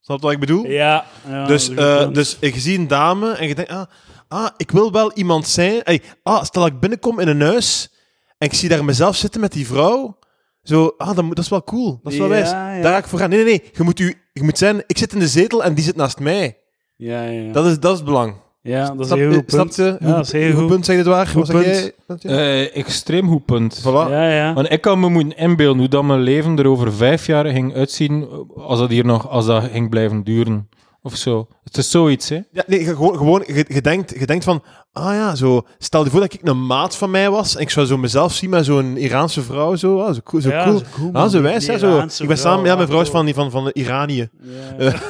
Snap je wat ik bedoel? Ja, ja, Dus, Ah, dat is een goed eh, punt. dus je ziet een dame en je denkt, ah, ah ik wil wel iemand zijn. Hey, ah, stel dat ik binnenkom in een huis en ik zie daar mezelf zitten met die vrouw. Zo, ah, dat, moet- dat is wel cool. Dat is wel Ja, wijs. ja. Daar ga ik voor gaan. Nee, nee, nee. Je moet, u, je moet zijn, ik zit in de zetel en die zit naast mij. ja, ja, ja. Dat is, dat is het belang. ja, dat is Snap- een heel goed snap punt. je? Hoe- Ja, dat is heel hoe goed. punt, zeg je het waar? Goed Wat zeg punt. jij? Dat je- Eh, extreem goed punt. Voilà. Ja, ja. Want ik kan me moeten inbeelden hoe dat mijn leven er over vijf jaar ging uitzien als dat hier nog als dat ging blijven duren. Of zo. Het is zoiets, hè? Ja, nee, ge- gewoon, gewoon je, je denkt, je denkt van, ah ja, zo, stel je voor dat ik een maat van mij was en ik zou zo mezelf zien met zo'n Iraanse vrouw, zo, ah, zo, cool- zo Ja, cool. zo cool, ah, man. zo wijs, hè, Die zo. Iraanse Ik ben samen, vrouw, ja, mijn vrouw is ah, van, die- van, van de Iranië. Ja. eh,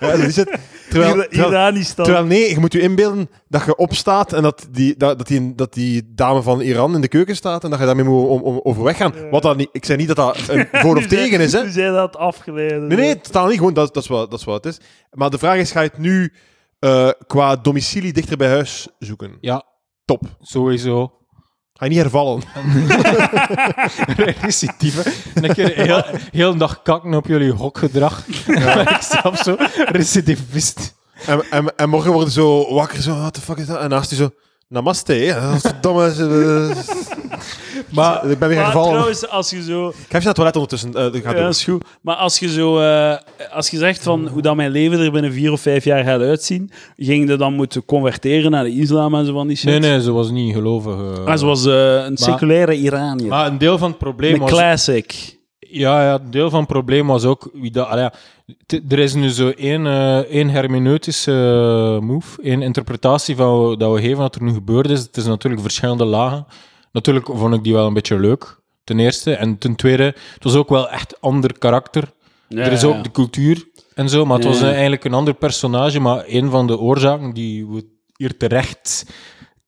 Ja, dat is het. Terwijl, Ira- terwijl, Iranisch dan. terwijl nee, je moet je inbeelden dat je opstaat en dat die, dat, dat die, dat die dame van Iran in de keuken staat en dat je daarmee moet om, om, overweg gaan. Wat dat niet, ik zei niet dat dat een voor of Nu zei- tegen is, hè. Nu zei dat afgeleid. Nee, nee, totaal niet. Gewoon, dat, dat, is wat, dat is wat het is. Maar de vraag is, ga je het nu eh, qua domicilie dichter bij huis zoeken? Ja, Top. sowieso. Ga je niet hervallen. Recidive. En een keer heel, heel een dag kakken op jullie hokgedrag. Ja. ik zelf zo recidivist. En, en, en morgen worden zo wakker, zo, what the fuck is dat? En naast je zo, namaste. hè. Verdomme. ze- Maar eh, ik ben weer Maar hervallen. trouwens, als je zo... Ik ga even naar het toilet ondertussen. eh, ik ga Ja, door. dat is goed. Maar als je zo... eh, als je zegt van hoe dat mijn leven er binnen vier of vijf jaar gaat uitzien, ging je dan moeten converteren naar de islam en zo van die shit? nee, nee, ze was niet gelovig. eh. Maar ze was eh, een seculaire Iranier. maar een deel van het probleem een was... classic. Ja, ja, een deel van het probleem was ook... Wie dat, allee, ja, t- er is nu zo één, eh, één hermeneutische eh, move, één interpretatie van we- dat we geven wat er nu gebeurd is. Het is natuurlijk verschillende lagen. Natuurlijk vond ik die wel een beetje leuk, ten eerste. En ten tweede, het was ook wel echt ander karakter. er is ook de cultuur en zo, maar het Ja, was ja. eh, eigenlijk een ander personage. Maar een van de oorzaken die we hier terecht,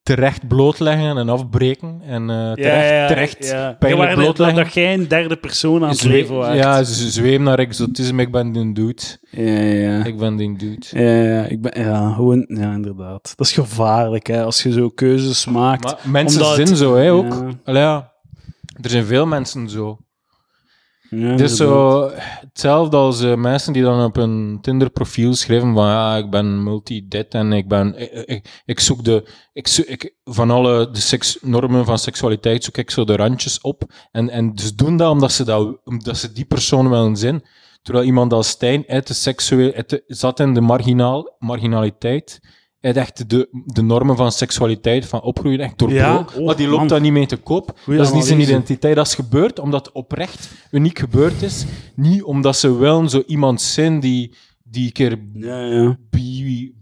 terecht blootleggen en afbreken. En eh, terecht, terecht pijnlijk dat, blootleggen. dat jij een derde persoon aan het Zwe- leven waakt. ja, z- zweem naar exotisme. Ik ben die dude. ja, ja. Ik ben die dude. Ja, ja, ik ben, ja, gewoon, ja, inderdaad. Dat is gevaarlijk, hè, als je zo keuzes maakt. Maar mensen Omdat het- zijn zo, hè, ook. Ja. Allee, ja. Er zijn veel mensen zo. Ja, Het is inderdaad. zo hetzelfde als eh, mensen die dan op hun Tinder-profiel schrijven van ja, ik ben multi-dit en ik ben... Ik, ik, ik zoek de... Ik, zo- ik, van alle de seks, normen van seksualiteit zoek ik zo de randjes op. En, en dus doen dat omdat ze, dat, omdat ze die persoon willen zijn. Terwijl iemand als Stijn uit de seksueel... uit de- zat in de marginaal, marginaliteit. Uit echt de, de normen van seksualiteit, van opgroeien, echt doorbroken. Ja, oh, maar die man. loopt daar niet mee te koop. Goeie dat is niet zijn analyse. identiteit identiteit. Dat is gebeurd omdat het oprecht uniek gebeurd is. Niet omdat ze wel zo iemand zijn die, die een keer Ja, ja. bi-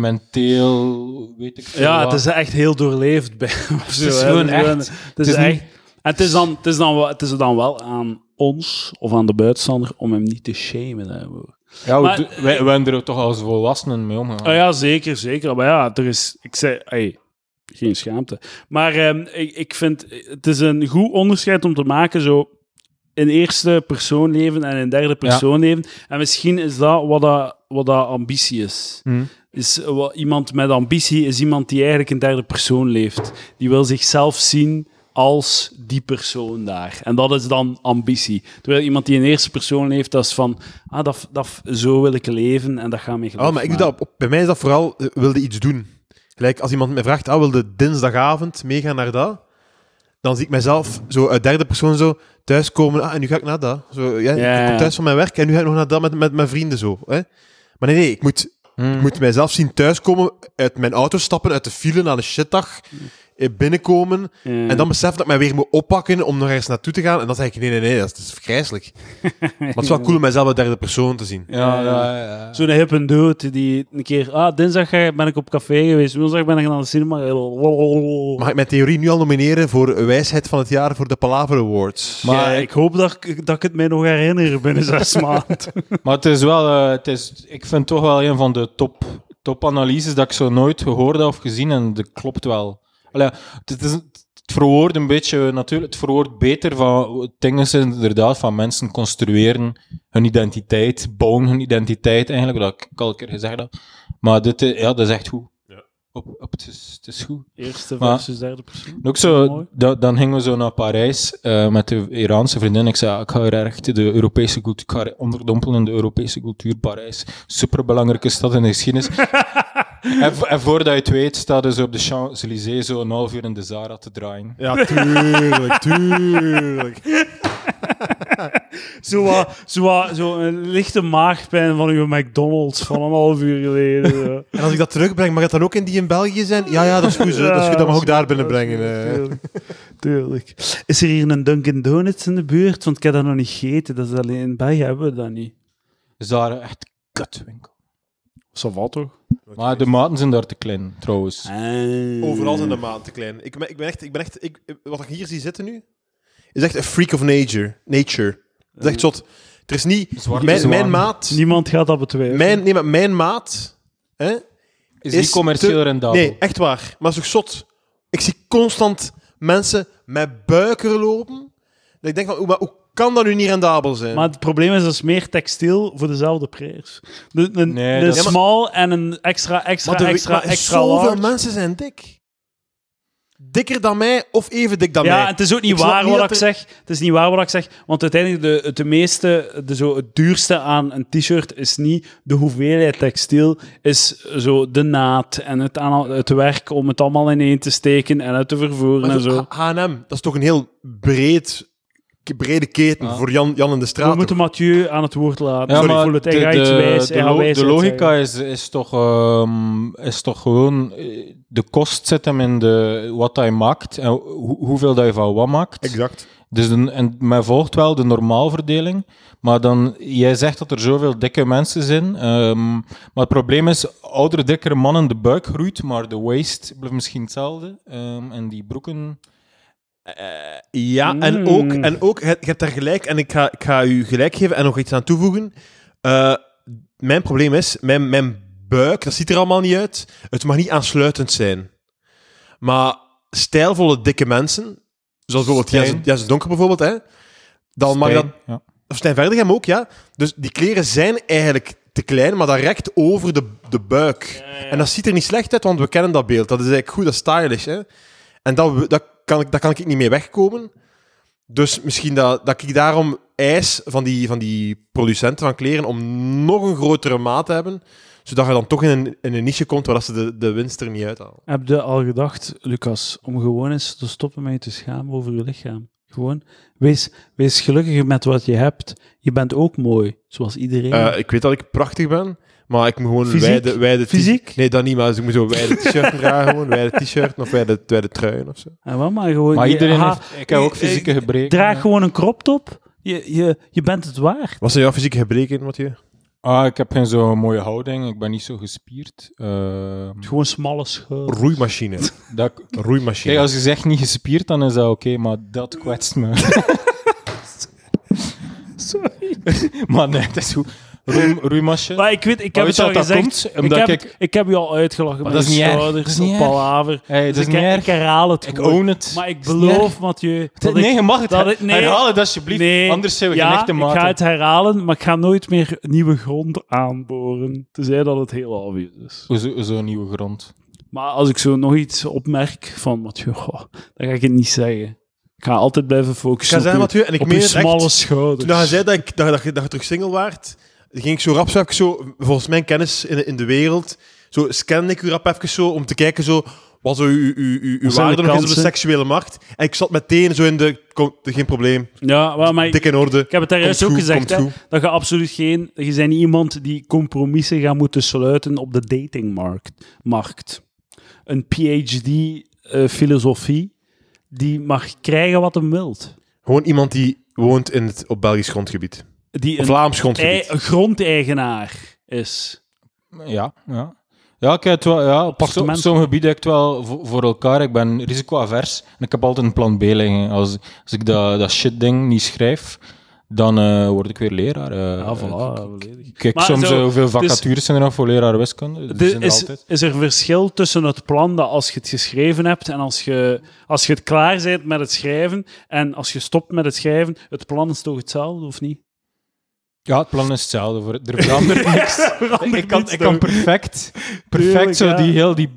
bi-experimenteel, weet ik veel Ja, wat. het is echt heel doorleefd. Bij, het is gewoon echt- Het is het is echt. niet- En het is, dan, het, is dan wel, het is dan wel aan ons of aan de buitenstander om hem niet te shamen daarvoor. Ja, maar- we do- Ah wij, wij zijn er toch als volwassenen mee omgegaan. Oh ja, zeker, zeker. Maar ja, er is. Ik zei, hey, Geen schaamte. Maar ehm, ik, ik vind, het is een goed onderscheid om te maken, zo in eerste persoon leven en in derde persoon leven. En misschien is dat wat dat, wat dat ambitie is. is eh, wat, iemand met ambitie is iemand die eigenlijk in derde persoon leeft. Die wil zichzelf zien als die persoon daar. En dat is dan ambitie. Terwijl iemand die in eerste persoon leeft, dat is van, ah, dat, dat, zo wil ik leven en dat gaat mij Ah, maar ik doe dat, op- op- bij mij is dat vooral, eh, wilde iets doen. Gelijk, als iemand mij vraagt, ah, wilde dinsdagavond meegaan naar dat? Dan zie ik mezelf zo uit derde persoon zo thuiskomen. Ah, en nu ga ik naar dat. Zo, ja, Ja, Ik ja. kom thuis van mijn werk en nu ga ik nog naar dat met, met mijn vrienden zo. Hè? Maar nee, nee, ik moet, Hmm. ik moet mijzelf zien thuiskomen, uit mijn auto stappen, uit de file naar de shitdag, eh, binnenkomen. En dan besef dat ik mij weer moet oppakken om nog ergens naartoe te gaan. En dan zeg ik, nee, nee, nee, dat is, dat is vergrijselijk. maar het is wel cool om mijzelf uit derde persoon te zien. Eh, Ja, ja, ja. Zo'n hip en dood die een keer, ah, dinsdag eh, ben ik op café geweest, woensdag ben ik naar de cinema. gegaan. Mag ik mijn theorie nu al nomineren voor wijsheid van het jaar voor de Palaver Awards? Maar ik hoop dat ik, dat ik het mij nog herinner binnen zes maanden. Maar het is wel, eh, het is, ik vind toch wel een van de top, topanalyses dat ik zo nooit gehoord heb of gezien en dat klopt wel. Allee, het, het is, het verwoordt een beetje, natuurlijk, het verwoordt beter van dingen is inderdaad van mensen construeren hun identiteit, bouwen hun identiteit eigenlijk, dat ik al een keer gezegd heb. Maar dit, eh, ja, dat is echt goed. Op, op, het, is, het is goed. Eerste Maar- versus derde persoon. En Ook zo, Mooi. da- dan gingen we zo naar Parijs eh, met de Iraanse vriendin. Ik zei, ja, ik ga er echt de Europese cultuur, ik ga er onderdompelen in de Europese cultuur. Parijs, superbelangrijke stad in de geschiedenis. en, vo- en voordat je het weet, staat dus op de Champs-Élysées zo een half uur in de Zara te draaien. Ja, tuurlijk, tuurlijk. Zo, wat- zo, wat- zo een lichte maagpijn van uw McDonald's van een half uur geleden. zo. En als ik dat terugbreng, mag het dan ook in die in België zijn? Ja, ja, dat is goed. zo. Dat is goed, dat mag ook daar binnenbrengen. eh. Tuurlijk. Tuurlijk. Is er hier een Dunkin' Donuts in de buurt? Want ik heb dat nog niet gegeten. Dat is alleen in België hebben we dat niet. Zara, echt kutwinkel. Savat toch? Maar de maten zijn daar te klein, trouwens. Overal zijn de maanden te klein. Ik, ben- ik ben echt, ik ben echt ik, wat ik hier zie zitten nu, is echt een freak of nature. nature. Dat is echt zot. Er is niet... Zwarte Mijn, zwaan. mijn maat... Niemand gaat dat betwijfelen. Mijn, nee, maar mijn maat... Hè, Is, die commercieel te- rendabel? Nee, echt waar. Maar het is toch zot. Ik zie constant mensen met buiken lopen. Dat ik denk van, hoe, maar hoe kan dat nu niet rendabel Eh, zijn? Maar het probleem is, dat is meer textiel voor dezelfde prijs. De, een Nee, een dat is- small en een extra, extra, Maar er- extra, maar extra zoveel large. mensen zijn dik. Dikker dan mij of even dik dan ja, mij. en het is ook niet Ik snap waar niet wat ik dat zeg. Het is niet waar wat ik zeg. Want uiteindelijk, de, de meeste, de, zo, het duurste aan een t-shirt is niet de hoeveelheid textiel, is zo de naad en het, aan, het werk om het allemaal ineen te steken en uit te vervoeren en Maar zo. zo, H- H&M, dat is toch een heel breed, ke- brede keten Ah. voor Jan, Jan in de straat. We moeten Mathieu aan het woord laten. Ja, Sorry, ik maar voel het. de, Hij gaat de, iets wijs. de, hij gaat lo- de wijsheid logica zeggen. is, is, toch, ehm, is toch gewoon... eh, De kost zit hem in de, wat dat je maakt en hoe- hoeveel dat je van wat maakt. Exact. Dus de, en men volgt wel de normaalverdeling. Maar dan, jij zegt dat er zoveel dikke mensen zijn. ehm, maar het probleem is, oudere, dikkere mannen, de buik groeit, maar de waist blijft misschien hetzelfde. ehm, en die broeken... Ja, en Mm. ook, en ook je, je hebt daar gelijk, en ik ga, ik ga u gelijk geven en nog iets aan toevoegen. Eh, mijn probleem is, mijn, mijn buik, dat ziet er allemaal niet uit. Het mag niet aansluitend zijn. Maar stijlvolle, dikke mensen, zoals bijvoorbeeld Stijn. Jens, Jens Donker bijvoorbeeld, hè, dan mag dat... Stijn, ja. Of Stijn Verdegem ook, ja. Dus die kleren zijn eigenlijk te klein, maar dat rekt over de, de buik. En dat ziet er niet slecht uit, want we kennen dat beeld. Dat is eigenlijk goed, dat is stylish. Hè? En dat, dat kan, ik- daar kan ik niet mee wegkomen. Dus misschien dat, dat ik daarom eis van die, van die producenten van kleren om nog een grotere maat te hebben, zodat je dan toch in een, in een niche komt waar dat ze de, de winst er niet uithalen. Heb je al gedacht, Lucas, om gewoon eens te stoppen met je te schamen over je lichaam? Gewoon, wees, wees gelukkig met wat je hebt. Je bent ook mooi, zoals iedereen. Eh, ik weet dat ik prachtig ben, maar ik moet gewoon Fysiek? wijde, wijde t- Fysiek? Nee, dat niet, maar dus ik moet zo wijde t-shirt dragen, gewoon wijde t-shirt of wijde, wijde truien of zo. en wat maar gewoon. Maar je- iedereen ha- heeft... Ik heb ook eh, fysieke eh, gebreken. Draag ja. gewoon een crop top. Je, je, je bent het waard. Wat zijn jouw fysieke gebreken, Mathieu? Ah, ik heb geen zo'n mooie houding. Ik ben niet zo gespierd. Ehm, Gewoon smalle scheur. Roeimachine. dat, Roeimachine. kijk, als je zegt niet gespierd, dan is dat oké, maar dat kwetst me. Sorry. maar nee, het is goed. Roei- Roeimasje. Maar ik weet, ik Maar heb het weet je al wat dat gezegd. komt? ik, Omdat heb, ik- ik heb u al uitgelachen Maar met dat is mijn niet erg. schouders Dat is niet op erg. palaver. Hey, dat Dus is ik, niet her- erg. ik herhaal het Ik gewoon. own het. Maar ik Dat is niet erg. beloof, Mathieu, dat nee, ik... je mag het dat her- ik- nee. herhaal het alsjeblieft. Nee, Anders zijn we ja, geneigd te ik maken. ga het herhalen, maar ik ga nooit meer nieuwe grond aanboren. Tenzij dat het heel obvious is. Hoezo, zo'n nieuwe grond. Maar als ik zo nog iets opmerk van Mathieu, goh, dan ga ik het niet zeggen. Ik ga altijd blijven Ik ga focussen zeggen, op, Mathieu, en uw- ik op uw meen het smalle echt. schouders. Toen Nou, hij zei dat, ik, dat, dat, je- dat je terug single waart, ging ik zo rap zo even zo, volgens mijn kennis in, in de wereld, zo scan ik u rap even zo om te kijken zo, wat zo uw, uw, uw, uw zijn de waarde nog is op de kansen? seksuele markt. En ik zat meteen zo in de, kom, de- geen probleem, ja, wel, maar ik, dik in orde. ik heb het daar Komt juist ook goed, gezegd, komt hè, goed. dat je absoluut geen... Je bent niet iemand die compromissen gaat moeten sluiten op de datingmarkt. Markt. Een PhD eh, filosofie, die mag krijgen wat hem wilt. Gewoon iemand die woont in het, op Belgisch grondgebied. Die Of een Vlaams grondgebied. ei- grondeigenaar is. Ja, ja. Ja, ik heb het wel, ja, op zo- op Appartement. sommige gebieden heb ik het wel voor, voor elkaar. Ik ben risicoavers en ik heb altijd een plan B liggen. Als, als ik dat, dat shit ding niet schrijf, dan eh, word ik weer leraar. eh. Ja, voilà, Ik- volledig. ik Kijk, Maar soms zo, eh, hoeveel is- vacatures zijn er nog voor leraar wiskunde? Die Er zijn er is, altijd. is er verschil tussen het plan dat als je het geschreven hebt en als je, als je het klaar bent met het schrijven en als je stopt met het schrijven, het plan is toch hetzelfde, of niet? Ja, het plan is hetzelfde. Voor, er verandert niks. ik kan, ik kan perfect, Tuurlijk, perfect zo ja. die, heel die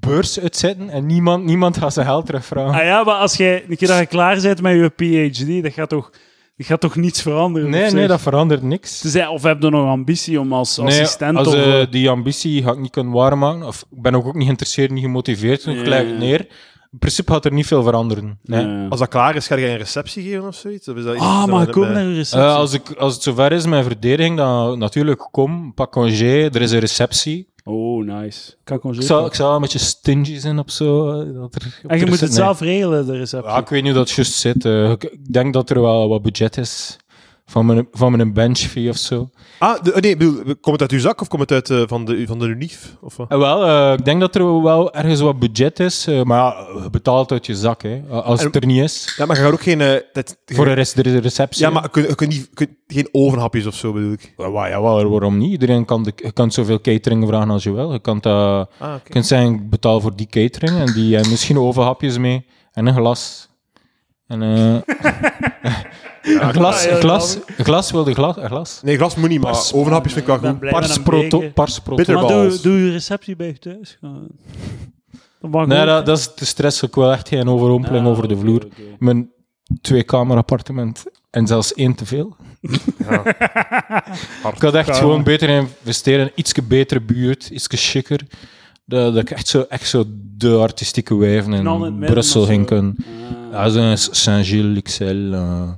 beurs uitzetten en niemand, niemand gaat zijn geld terugvragen. Ah ja, maar als jij een keer dat je klaar bent met je PhD, dat gaat toch, dat gaat toch niets veranderen? Nee, of nee, zeg? dat verandert niks. Tenzij- of heb je nog ambitie om als assistent als, of... eh, eh, die ambitie ga ik niet kunnen waarmaken. Of ik ben ook, ook niet geïnteresseerd, niet gemotiveerd genoeg. Ja. gelijk neer. In principe gaat er niet veel veranderen. Nee. eh. Als dat klaar is, ga je een receptie geven of zoiets? Of is dat iets Ah, dat maar we- ik kom met- naar een receptie. Eh, als, ik, als het zover is, mijn verdediging, dan natuurlijk kom, pak congé, er is een receptie. Oh, nice. Kan ik gewoon Ik zeggen. zou, ik zou een beetje stingy zijn op zo. eh, Dat er, op En je de moet rece- het nee. zelf regelen, de receptie. Ja, ik weet niet hoe dat juist zit. eh. ik, ik denk dat er wel wat budget is van mijn, van mijn bench fee of zo. Ah, de- nee, ik bedoel, komt het uit uw zak of komt het uit eh, van, de, van de UNIF? Of, wat? Eh, wel, eh, ik denk dat er wel ergens wat budget is, eh, maar ja, je betaalt uit je zak, hè, als het En- er niet is. Ja, maar je gaat ook geen... eh, dat, Voor een rest, er is een receptie. ja, maar je kunt, je kunt niet, je kunt geen ovenhapjes of zo, bedoel ik. Ja, wa- jawel, waarom niet? Iedereen kan, de, je kan zoveel catering vragen als je wil. Je kan dat, Ah, je kunt zeggen, ik betaal voor die catering en die en misschien overhapjes mee en een glas. En, eh, een glas, een glas, een glas wilde glas, een glas. Nee, glas moet niet, maar Pas- ovenhapjes vind ik wel Ik ben goed. blij met Pars een proto, beker. pars proto. Bitter- Maar doe, balls. doe je receptie bij je thuis. gewoon. Dat mag Nee, ook, dat, hè. dat is te stress. Ik wil echt geen overrompeling Ah, over de oké, vloer. oké. Mijn twee-kamer appartement en zelfs één te veel. Ik had echt gewoon beter investeren in ietske betere buurt, ietske chiquer. Dat, dat ik echt zo, echt zo de artistieke wijven Knal in het in midden Brussel of zo. ging kunnen. Ah. Ja, zo'n Saint-Gilles, Excel. eh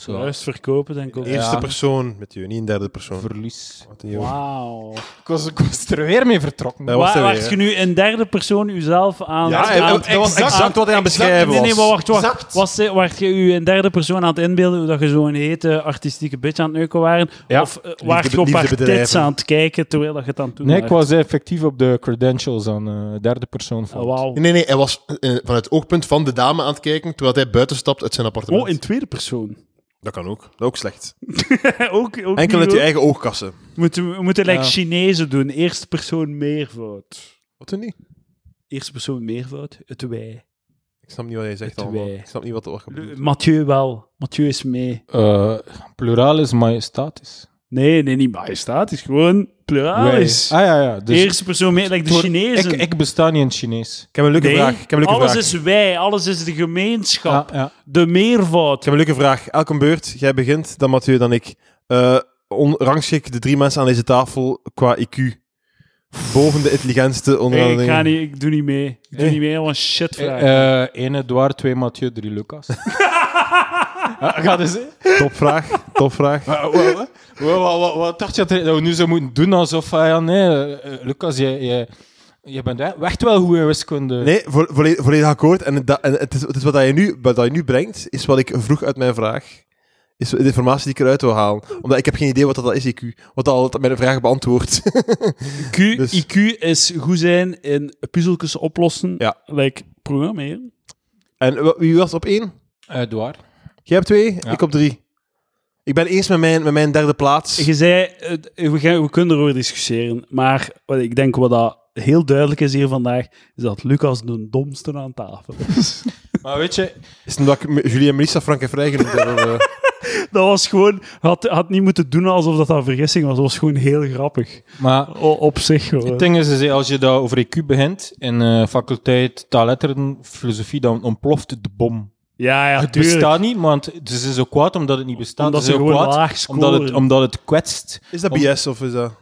zo. Juist verkopen, denk ik ook. Eerste Ja. persoon met je, niet een derde persoon. Verlies. Wat een jongen. Wauw. Ik was, ik was er weer mee vertrokken. Dat was Waar er weer, wacht hè. je nu in derde persoon uzelf aan? Ja, eh, aan- dat was exact wat hij aan het Nee, beschrijven nee, nee, maar was. wacht, wacht. Was, eh, wacht je u in derde persoon aan het inbeelden hoe dat je zo'n hete artistieke bitch aan het neuken waren? Ja. Of eh, waart je op haar liefdebedrijven. tits aan het kijken terwijl dat je het aan het doen Nee, ik waart? was effectief op de credentials aan eh, derde persoon. Ah, vond. Wauw. Nee, nee, hij was eh, vanuit het oogpunt van de dame aan het kijken terwijl hij buiten stapt uit zijn appartement. Oh, in tweede persoon. Dat kan ook. Dat is ook slecht. ook, ook Enkel niet, uit je hoor. eigen oogkassen. Moeten, we moeten like Ja. Chinezen doen. Eerste persoon meervoud. Wat doen die? Eerste persoon meervoud. Het wij. Ik snap niet wat jij zegt Het allemaal. wij. Ik snap niet wat er gebeurt. Mathieu wel. Mathieu is mee. Eh, plural is majestatisch. Nee, nee, niet majestatisch. Gewoon pluraal Wij. is. Ah ja, ja. Dus Eerste persoon mee, like de voor- Chinezen. Ik, ik besta niet in het Chinees. Ik heb een leuke Nee, vraag. Ik heb een leuke alles vraag. is wij, alles is de Ja, gemeenschap, ja. de meervoud. Ik heb een leuke vraag. Elke beurt, jij begint, dan Mathieu, dan ik. Eh on, rangschik de drie mensen aan deze tafel qua IQ. Boven de intelligentste Nee, onderaan. ik ga niet, ik doe niet mee. Ik doe Nee. niet mee, want shit vraag. Eh één Edouard, twee Mathieu, drie Lucas. Ja, Ga dus. Topvraag, topvraag. Wat, wat, wat, wat, wat dacht je dat er- dat we nu zo moeten doen alsof ah ja, nee, eh, eh, Lucas, jij, jij, jij bent e- echt wel goed in wiskunde. Nee, vo volle- volledig akkoord. En, dat- en het, is, het is wat je nu, wat je nu brengt, is wat ik vroeg uit mijn vraag. Is de informatie die ik eruit wil halen. Omdat ik heb geen idee wat dat is, IQ. Wat al dat mijn vraag beantwoordt. Q, dus- IQ is goed zijn in puzzeltjes oplossen, Ja. like programmeren. en wa- wie was op één? Edouard. Jij op twee, Ja. ik op drie. Ik ben eens met mijn, met mijn derde plaats. Je zei, eh, we, gaan, we kunnen erover discussiëren, maar wat ik denk wat dat heel duidelijk is hier vandaag, is dat Lucas de domste aan tafel is. Maar weet je, Is het omdat ik me- Julie en Melissa Frank en Vrij genoemd heb? of, eh? dat was gewoon, had, had niet moeten doen alsof dat een vergissing was, dat was gewoon heel grappig. maar O- op zich gewoon. Het ding is, is, als je daar over EQ begint, in eh, faculteit taalletteren, filosofie, dan ontploft de bom. ja, ja, het tuurlijk. bestaat niet, want het is dus ook kwaad omdat het niet bestaat. Omdat het ze is ook gewoon kwaad laag scoren. omdat het, omdat het kwetst. Is dat BS of is dat...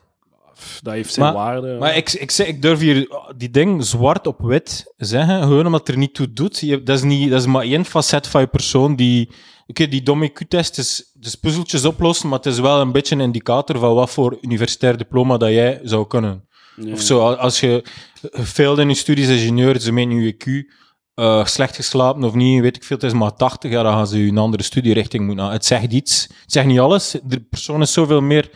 Pff, dat heeft zijn Maar- waarde. Maar ik, ik, zeg- ik durf hier ah, die ding zwart op wit zeggen, gewoon omdat het er niet toe doet. Je, dat, is niet, dat is maar één facet van je persoon die... Oké, die domme EQ-test is dus puzzeltjes oplossen, maar het is wel een beetje een indicator van wat voor universitair diploma dat jij zou kunnen. Ja. Of zo, al- als je failed in je studies als ingenieur, ze menen je IQ eh, slecht geslapen of niet, weet ik veel, het is maar 80, ja, dan gaan ze je een andere studierichting moeten aan. Het zegt iets, het zegt niet alles. De persoon is zoveel meer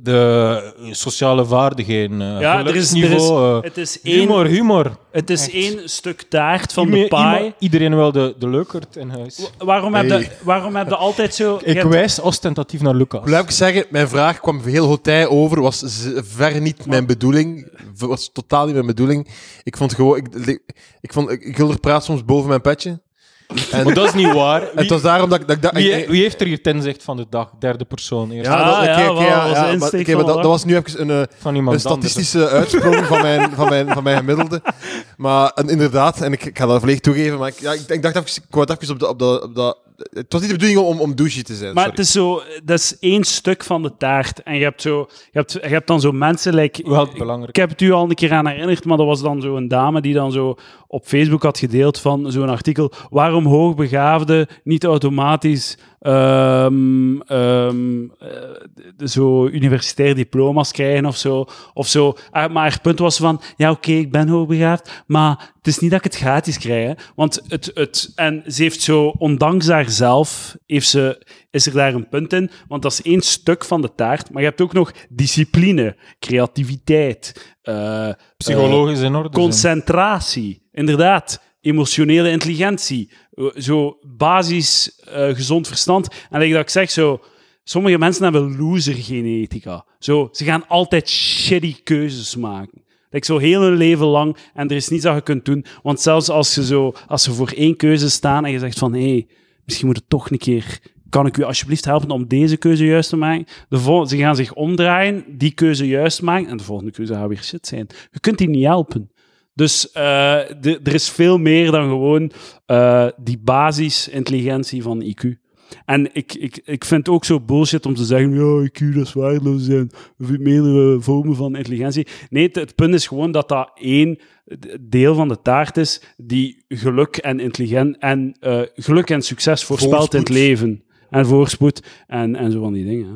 de sociale vaardigheden, eh Ja, er is- er is- geluksniveau, eh, het is humor, één, humor. het is echt. één stuk taart van de Iedereen- pie. iemand- Iedereen wil de, de leukert in huis. Waarom heb Hey. je waarom heb je altijd zo... je Ik hebt- wijs ostentatief naar Lucas. Blijf ik zeggen, mijn vraag kwam heel hotij over, was z- ver niet mijn bedoeling, v- was totaal niet mijn bedoeling. Ik vond gewoon, ik, ik- ik vond, ik, ik wilde praat soms boven mijn petje. En, Maar en dat is niet waar. het Wie, was daarom dat ik, dat ik dacht... wie, wie heeft er hier het inzicht van de dag? Derde persoon, eerst. Ah, dat, oké, ja, oké, wel, was de maar- insteek oké, maar dat, van dat Lars. was nu even een, eh, van iemand een anders. statistische uitsprong van mijn, van, mijn, van mijn gemiddelde. Maar en inderdaad, en ik, ik ga dat volledig toegeven, maar ik, ja, ik, ik dacht even, ik wou het even op dat... Op dat, op dat het was niet de bedoeling om, om douche te zijn, Maar sorry. het is zo, dat is één stuk van de taart. En je hebt, zo, je hebt, je hebt dan zo mensen, like, Wel ik- belangrijk. ik heb het u al een keer aan herinnerd, maar dat was dan zo'n dame die dan zo op Facebook had gedeeld van zo'n artikel, waarom hoogbegaafden niet automatisch ehm, ehm, eh, de- zo universitair diploma's krijgen of zo. Of zo. Ah, Maar haar punt was van, ja oké, ik ben hoogbegaafd, maar het is niet dat ik het gratis krijg. hè. Want het, het, en ze heeft zo, ondanks haarzelf, heeft ze, is er daar een punt in. Want dat is één stuk van de taart. Maar je hebt ook nog discipline, creativiteit, eh, Psychologisch in orde. dus, eh. zijn. concentratie, inderdaad. Emotionele intelligentie, eh, zo basis eh, gezond verstand. En like dat ik zeg zo, sommige mensen hebben loser genetica. Zo, ze gaan altijd shitty keuzes maken. Like zo heel hun leven lang en er is niets dat je kunt doen. Want zelfs als, je zo, als ze voor één keuze staan en je zegt van hé, hey, misschien moet het toch een keer kan ik u alsjeblieft helpen om deze keuze juist te maken? De vol- ze gaan zich omdraaien, die keuze juist maken en de volgende keuze gaat weer shit zijn. Je kunt die niet helpen. Dus eh, de- er is veel meer dan gewoon eh, die basisintelligentie van IQ. En ik, ik, ik vind het ook zo bullshit om te zeggen, ja, IQ, dat is waardeloos zijn. Er zijn meerdere eh, vormen van intelligentie. Nee, het, het punt is gewoon dat dat één d- deel van de taart is die geluk en, intelligent, en, eh, geluk en succes voorspelt in het Voorspoed. leven. En voorspoed en, en zo van die dingen. hè.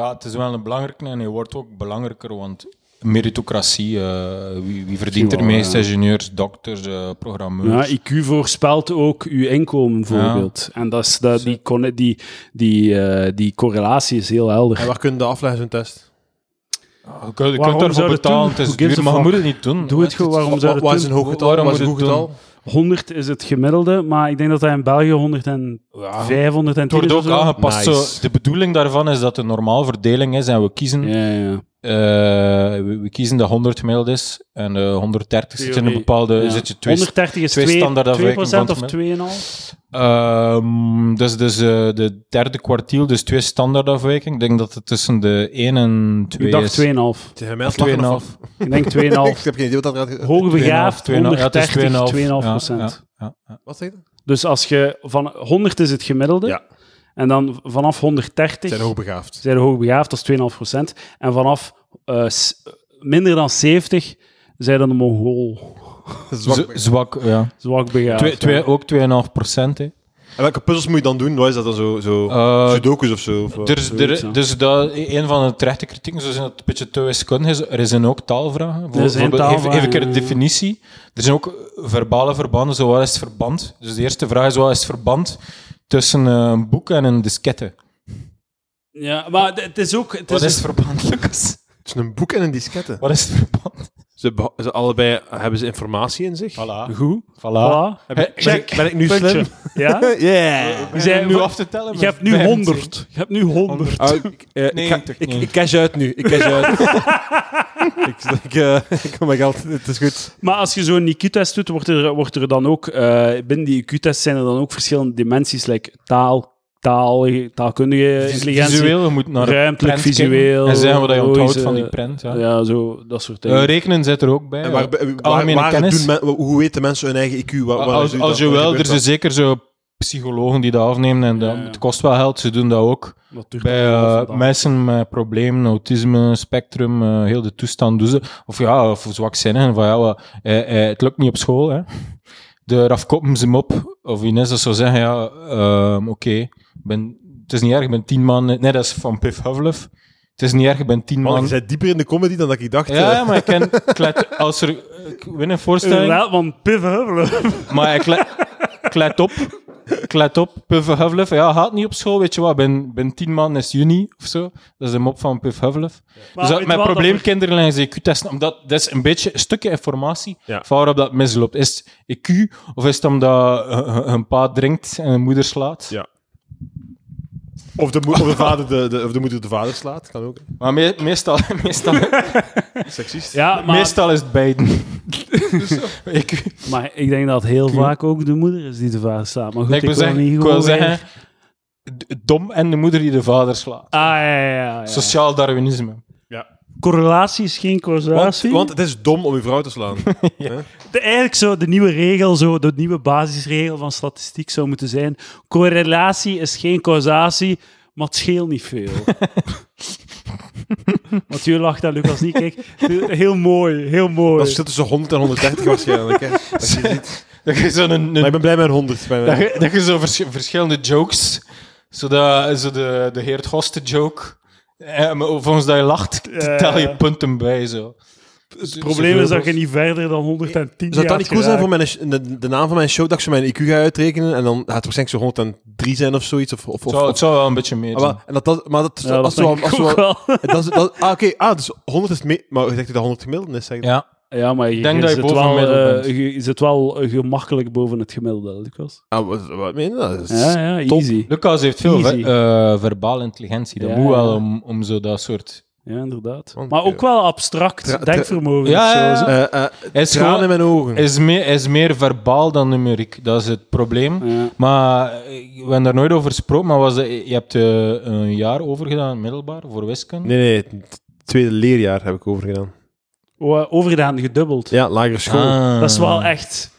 Ja, het is wel een belangrijke en je wordt ook belangrijker, want meritocratie, eh, wie, wie verdient er Misschien wel, meest? ja. Ingenieurs, dokters, eh, programmeurs. Ja, IQ voorspelt ook uw inkomen, bijvoorbeeld. En dat is dat, die, conne- die, die, eh, die correlatie is heel helder. En waar kunnen de afleggen zo'n test? je kunt, Waarom je kunt daarvoor zou je dat betalen, doen? het is Who gives a duur, maar je fuck? moet het niet doen. Doe het gewoon, waarom zou je Wat dat is een doen? hoog getal? Waarom Wat is een moet hoog het getal? 100 is het gemiddelde, maar ik denk dat hij in België 100 en Ja. 510 Het wordt is of ook zo. aangepast. Nice. Zo, de bedoeling daarvan is dat de normaal verdeling is en we kiezen, Ja, ja, ja. eh, we, we kiezen dat 100 gemiddeld is en eh 130 zit in een Theorie. bepaalde... Ja. Zit je twee, 130 is twee 2, standaardafwijkingen van 2% of het 2,5. Ehm, dat is dus eh, de derde kwartiel, dus twee standaardafwijkingen. Ik denk dat het tussen de 1 en 2 Ik dacht 2,5. Tegen mij Of is het lachen of- 2,5. Ik denk Ik 2,5. heb geen idee wat dat gaat... Hoogbegaafd, 2,5, 2,5. Ja, het is 130, 2,5 Ja, procent. ja, ja. Wat zeg je? Dus als je van 100 is het gemiddelde, Ja. en dan vanaf 130 Zijn hoogbegaafd. zijn hoogbegaafd, dat is 2,5 En vanaf eh, s- minder dan 70 zijn dan de Mongool. Zwak. Z- Zwak, ja. Zwak begaafd. Twee- twee- ook 2,5 procent. hè. En welke puzzels moet je dan doen? Wat is dat dan zo? zo Eh, Sudokus of zo? Of, wat? er is- er- zoiets, ja. dus dat, een van de terechte kritieken, zo zijn dat het een beetje te wiskundig is, er zijn ook taalvragen. Voor- zijn voorbeeld, even, taalvragen, even een keer de ja. definitie. Er zijn ook eh, verbale verbanden, zo wat is het verband? Dus de eerste vraag is, wat is het verband tussen eh, een boek en een diskette? Ja, maar d- het is ook... Het Wat is dus het is, verband, Lucas? Tussen een boek en een diskette. Wat is het verband? Ze, beha- ze allebei hebben ze informatie in zich. Voilà. Goed. Voilà. Heb ik- Hey, ben check. ik- Ben ik nu Puntje. slim? Ja? Eh, Eh, Yeah. Je zei- nu af te tellen. Je hebt nu maar- 100. Je hebt nu 100. Ah, ik, eh, ik, ga- 90, ik, nee. ik cash uit nu. Ik cash uit. ik, ik, eh, ik kom mijn geld. Het is goed. Maar als je zo'n IQ-test doet, wordt er, wordt er dan ook, eh, binnen die IQ-test zijn er dan ook verschillende dimensies, like taal, taal taalkundige intelligentie, Visueel, je moet naar de ruimtelijk, prent kijken visueel. En zeggen wat je onthoudt logische- van die print. Ja. Ja, zo, dat soort dingen. Eh, rekenen zit er ook bij. En waar, ja. waar, Algemene waar kennis. doen men- hoe weten mensen hun eigen IQ? Waar, waar als, doe als dat? je Waar wel, er gebeurt zijn zeker zo psychologen die dat afnemen en dat, Ja, ja. het kost wel geld. Ze doen dat ook. Wat duurt Bij dat eh, allemaal vandaan? mensen met problemen, autisme, spectrum, eh, heel de toestand doen ze. Of ja, of zwakzinnigen, van ja, wat- eh, eh, het lukt niet op school. Hè. De rafkoppen ze hem op. Of Ines dat zou zeggen, ja, ehm, oké, ik ben- het is niet erg, ik ben tien man... Nee, dat is van Piff Havlef. Het is niet erg, ik ben tien Man, man... je bent dieper in de comedy dan dat ik dacht. Ja, eh. ja, maar ik ken... ik let- als er, ik win een voorstelling... Inderdaad, want Piv Heuvelen. Maar ik, le- ik let op. Ik let op. Puff Hufflepuff. Ja, gaat niet op school, weet je wat. Ben, ben tien man is juni of zo. Dat is de mop van Puff Hufflepuff. Maar Dus weet dat, je mijn wat, dat probleem, wordt- kinderen leggen ze IQ-testen. Omdat dat is een beetje een stukje informatie Ja. van waarop dat misloopt. Is het IQ of is het omdat eh, eh, een pa drinkt en een moeder slaat? Ja. Of, de, mo- of de vader de, de- of de moeder de vader slaat. Kan ook. Maar me- meestal, meestal, Seksist. Ja, maar, meestal is het beiden. IQ. maar ik denk dat heel vaak ook de moeder is die de vader staat. Maar goed, Ik ik, wil wil zeggen, niet ik gewoon wil weer- zeggen d- dom en de moeder die de vader slaat. Ah, ja, ja, ja, ja. Sociaal Darwinisme. Correlatie is geen Want, causatie. want het is dom om je vrouw te slaan. De, eigenlijk zou de nieuwe regel, zo, de nieuwe basisregel van statistiek zou moeten zijn: correlatie is geen causatie, maar het scheelt niet veel. Want u lacht aan Lucas niet. Kijk, heel mooi, heel Dat mooi. zit tussen 100 en 130 waarschijnlijk. Hè. Dat je ziet. Dat je zo'n een- Maar ik ben blij met 100. bij dat mij. je, dat je zo vers- verschillende jokes, zo, dat, zo de, de Heert Gosten joke, eh, maar volgens dat je lacht, t- Ja. tel je punten bij. Zo. Het probleem is dat je niet verder dan 110 Zou dat jaar niet cool zijn voor geraakt. mijn, de, de naam van mijn show, dat ik zo mijn IQ ga uitrekenen en dan gaat het waarschijnlijk zo 103 zijn of zoiets? Of, of, Het of, zou, het zou wel een beetje meer Ah, wel, en dat, dat, maar dat, Ja, als dat we... denk Als ik we ook wel. dat, is- dat, ah, oké. Ah, dus 100 is mee... Maar je zegt dat 100 gemiddeld is, zeg je. Ja. Ja, maar je, denk je dat je zit boven wel, gemiddeld eh, bent. je, je zit wel eh, gemakkelijk boven het gemiddelde, Lucas. Ah, wat, wat meen je? Dat is- Ja, ja, top. easy. Lucas heeft veel Easy. ver- eh, verbale intelligentie. Dat Ja, moet wel ja. om, om zo dat soort... Ja, inderdaad. Want, Maar ook eh, wel tra- tra- abstract denkvermogen. Ja, of zo, ja, ja. zo. Eh, eh, Hij is, tranen in gewoon, mijn ogen. is, meer, is meer verbaal dan numeriek. Dat is het probleem. Ja. Maar eh, we hebben daar nooit over gesproken, maar was dat- je hebt eh, een jaar over gedaan, middelbaar, voor wiskunde. Nee, nee. Het tweede leerjaar heb ik overgedaan. Wa- Overgedaan, gedubbeld. Ja, lagere school. Ah. Dat is wel echt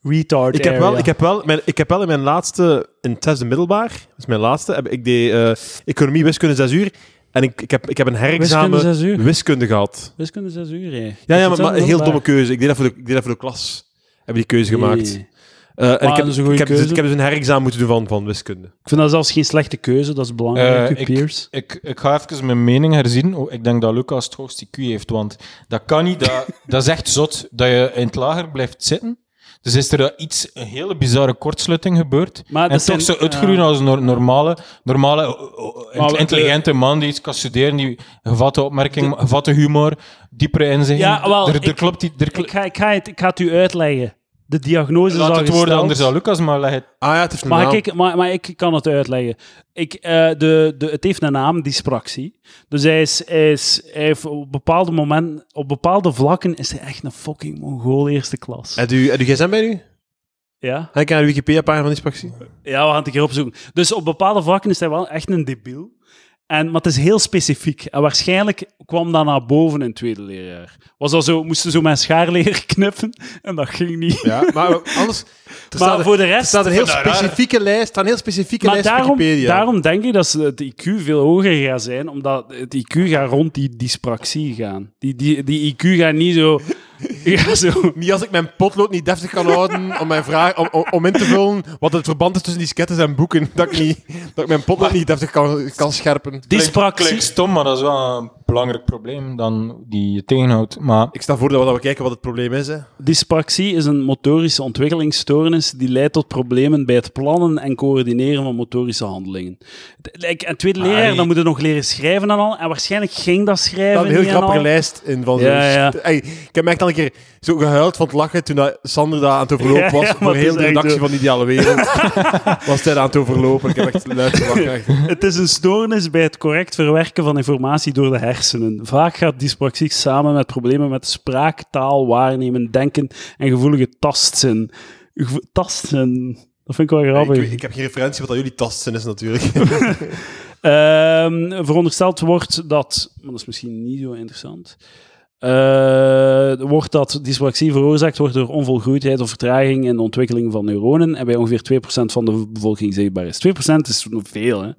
retard Ik heb, area. wel, ik, heb wel, mijn, ik heb wel in mijn laatste, in het zesde middelbaar, dat is mijn laatste, heb, ik deed eh, economie, wiskunde 6 uur. En ik, ik, heb, ik heb een herexamen Wiskunde wiskunde, zes uur. gehad. Wiskunde zes uur, hè. Ja, Dat ja is maar, maar wel een heel domme middelbaar. keuze. Ik deed dat voor de, ik deed dat voor de klas. Heb die keuze gemaakt. Nee. Eh, en Maar ik heb, dat is een ik, goede heb dus, keuze. ik heb dus een herexamen moeten doen van, van wiskunde. Ik vind dat zelfs geen slechte keuze, dat is belangrijk. Eh, je peers. Ik, ik ga even mijn mening herzien. Oh, ik denk dat Lucas het hoogste IQ heeft, want dat kan niet. Dat, dat is echt zot dat je in het lager blijft zitten. Dus is er dat iets, een hele bizarre kortsluiting gebeurd. Maar en dat toch zijn- zo uitgroeien ja. als een nor- normale, normale oh, oh, Maar we- intelligente man die iets kan studeren, die gevatte opmerking, gevatte humor, diepere inzichten. Ja, wel, er, er ik- klopt iets. Er kl- Ik ga, ik, ga het, ik ga het u uitleggen. De diagnose is Laat al het woord gesteld. anders dan Lucas, maar leg het. Ah ja, het heeft een Maar, naam. kijk, maar, maar ik kan het uitleggen. Ik, eh, de, de, het heeft een naam, dyspraxie. Dus hij, is, hij, is, hij heeft op bepaalde momenten, op bepaalde vlakken, is hij echt een fucking Mongool eerste klas. Heb je heb je gsm bij u? Ja? Heb ik aan de Wikipedia-pagina van die spactie? Ja, we gaan het een keer opzoeken. Dus op bepaalde vlakken is hij wel echt een debiel. En, maar het is heel specifiek. En waarschijnlijk kwam dat naar boven in het tweede leerjaar. Was dat zo, moesten zo mijn schaarleer knippen en dat ging niet. Ja, maar anders... Er maar staat, er voor de rest... staat een heel Maar daar- specifieke lijst, staat een heel specifieke maar lijst daarom, Wikipedia. daarom denk ik dat ze het IQ veel hoger gaat zijn, omdat het IQ gaat rond die dyspraxie gaan. Die, die, die IQ gaat niet zo... Ja, zo. Niet als ik mijn potlood niet deftig kan houden om, mijn vraag, om, om, om in te vullen wat het verband is tussen die skettes en boeken. Dat ik, niet, dat ik mijn potlood niet deftig kan, kan scherpen. Klinkt, Dyspraxie. klinkt stom, maar dat is wel een belangrijk probleem dan die je tegenhoudt. Maar Ik sta voor dat we, dat we kijken wat het probleem is. Hè. Dyspraxie is een motorische ontwikkelingsstoornis die leidt tot problemen bij het plannen en coördineren van motorische handelingen. D- like, En tweede leraar, Ai. dan moet je nog leren schrijven en al. En waarschijnlijk ging dat Ik schrijven. had een niet heel en grappige al. lijst in van Ja, zo'n- ja. Ey, ik heb me echt al een keer zo gehuild van het lachen toen dat Sander daar aan het Ja, overlopen was. ja, maar voor het heel is de echt redactie zo. van Ideale Wereld was hij aan het overlopen. Ik heb echt luid gelachen. echt. Het is een stoornis bij het correct verwerken van informatie door de hersenen. Vaak gaat dyspraxie samen met problemen met spraak, taal, waarnemen, denken en gevoelige tastzin. Gevo- tastzin. Dat vind ik wel Ik, grappig. weet- ik heb geen referentie wat dat jullie tastzin is natuurlijk. Ehm, verondersteld wordt dat, maar dat is misschien niet zo interessant, eh, wordt dat dyspraxie veroorzaakt wordt door onvolgroeidheid of vertraging in de ontwikkeling van neuronen en bij ongeveer 2% van de bevolking zichtbaar is. 2% is veel, hè?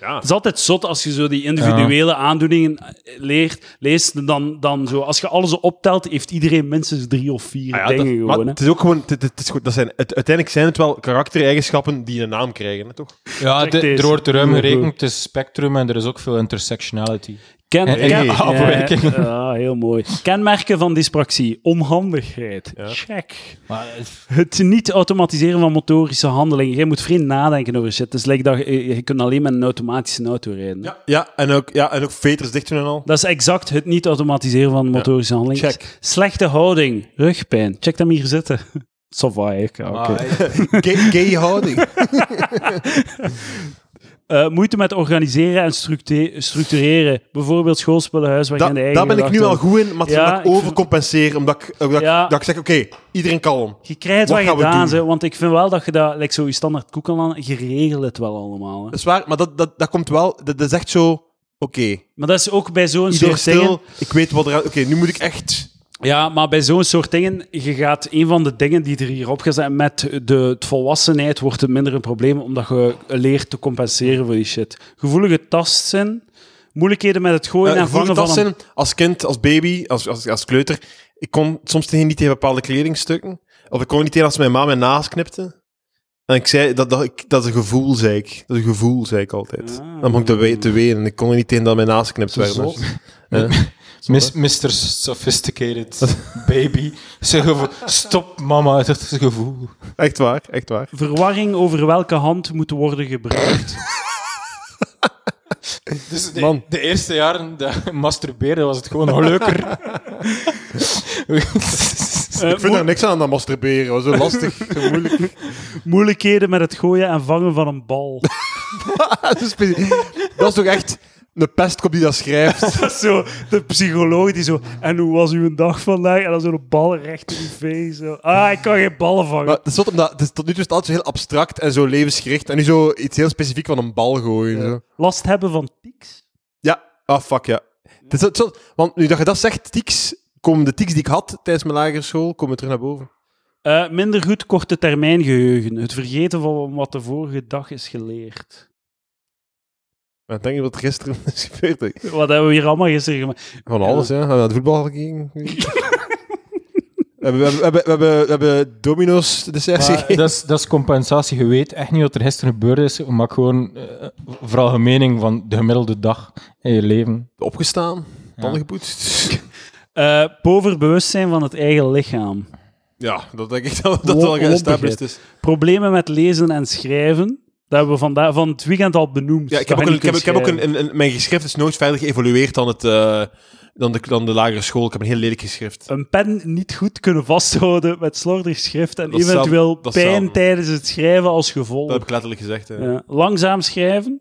Ja. Het is altijd zot als je zo die individuele aandoeningen eh, leert, leest, dan, dan zo. Als je alles optelt, heeft iedereen minstens drie of vier Ah ja, dingen dat- maar gewoon. hè. het is ook gewoon, het, het- het is goed, dat zijn, het- uiteindelijk zijn het wel karaktereigenschappen die een naam krijgen, hè, toch? ja, Check de- deze. er wordt ruim Heel goed. gerekend, het is spectrum en er is ook veel intersectionality. Ken, Hey, ken- hey, afwerking. Ja, ja, heel mooi. Kenmerken van dyspraxie. Onhandigheid. Check. Maar, eh, Het niet automatiseren van motorische handelingen. Je moet vreemd nadenken over shit. Het is like dat je, eh, je kunt alleen met een automatische auto rijden. Ja, ja, en ook, ja, en ook veters dicht doen en al. Dat is exact het niet automatiseren van motorische handelingen. Check. Slechte houding. Rugpijn. Check hem hier zitten. Savai, oké. Ah, eh, Gay, gay houding. Eh, moeite met organiseren en structe- structureren. Bijvoorbeeld schoolspullen, huiswerk en Dat, de eigen daar ben ik nu al gedachtegang. goed in, maar Ja, ja, ik ik overcompenseer. Omdat ik, omdat ik- Ja. dat ik zeg, oké, iedereen kalm. Je krijgt Wat wat, gaan we gedaan, doen? ze, want ik vind wel dat je dat, like zo je standaard koekelan, je regelt het wel allemaal. Hè. Dat is waar, maar dat, dat, dat komt wel... Dat, dat is echt zo... Oké, Maar dat is ook bij zo'n iedereen soort dingen... stil. Ik weet wat er... Oké, nu moet ik echt... Ja, maar bij zo'n soort dingen, je gaat een van de dingen die er hierop gezet met de het volwassenheid wordt het minder een probleem, omdat je leert te compenseren voor die shit. Gevoelige tastzin, moeilijkheden met het gooien Ja, en vangen vroeger van een... tassen, als kind, als baby, als, als, als kleuter, ik kon soms tegen niet tegen bepaalde kledingstukken. Of ik kon niet tegen als mijn ma mijn naast knipte. En ik zei, dat, dat, ik, dat is een gevoel, zei ik. Dat is een gevoel, zei ik altijd. Ah. Dan begon ik te, we- te wenen. Ik kon er niet tegen dat mijn naast geknipt werd. zot. Dus- Mis- Mr. Sophisticated Baby. Zijn gevoel- Stop, mama, dat is een gevoel. Echt waar, echt waar. Verwarring over welke hand moet worden gebruikt. Dus de, Man. de eerste jaren dat masturberen was het gewoon nog leuker. Eh, Ik vind daar niks aan, dat masturberen. was zo lastig, zo moeilijk. Moeilijkheden met het gooien en vangen van een bal. Ah, dat, is precies- dat is toch echt een pestkop die dat schrijft. Dat is zo de psycholoog die zo... En hoe was uw dag vandaag? En dan zo'n bal recht in je face. Zo. Ah, ik kan geen ballen vangen. Maar het is zot omdat, het is, tot nu toe is het altijd zo heel abstract en zo levensgericht. En nu zo iets heel specifiek van een bal gooien. Zo. Last hebben van tics? Ja, ah fuck ja. Het is zo- zo- want nu dat je dat zegt, tics, komen de tics die ik had tijdens mijn lagere school, komen terug naar boven. Eh, minder goed korte termijn geheugen. Het vergeten van wat de vorige dag is geleerd. Maar ik denk je wat er gisteren is gebeurd? hè? Wat hebben we hier allemaal gisteren gemaakt? Van alles, ja. We hebben naar de voetbal gekeken. we, hebben, we, hebben, we, hebben, we hebben domino's dessert Maar gegeven. dat, is, dat is compensatie. Je weet echt niet wat er gisteren gebeurd is, maar gewoon eh, vooral een mening van de gemiddelde dag in je leven. Opgestaan, tanden gepoetst. Eh pover bewustzijn van het eigen lichaam. Ja, dat denk ik dat dat wel Lom- geëstablished is. Problemen met lezen en schrijven. Dat hebben we vandaag, van het weekend al benoemd. Ja, ik Dat heb ook, je een, niet ik heb, kunt ik heb ook schrijven. een, een, een- mijn geschrift is nooit verder geëvolueerd dan, het, eh, dan, de, dan de lagere school. Ik heb een heel lelijk geschrift. een pen niet goed kunnen vasthouden met slordig schrift en Dat is zelf- eventueel dat is pijn zelf- tijdens het schrijven als Dat gevolg. heb ik letterlijk gezegd. Hè. Ja. Langzaam schrijven,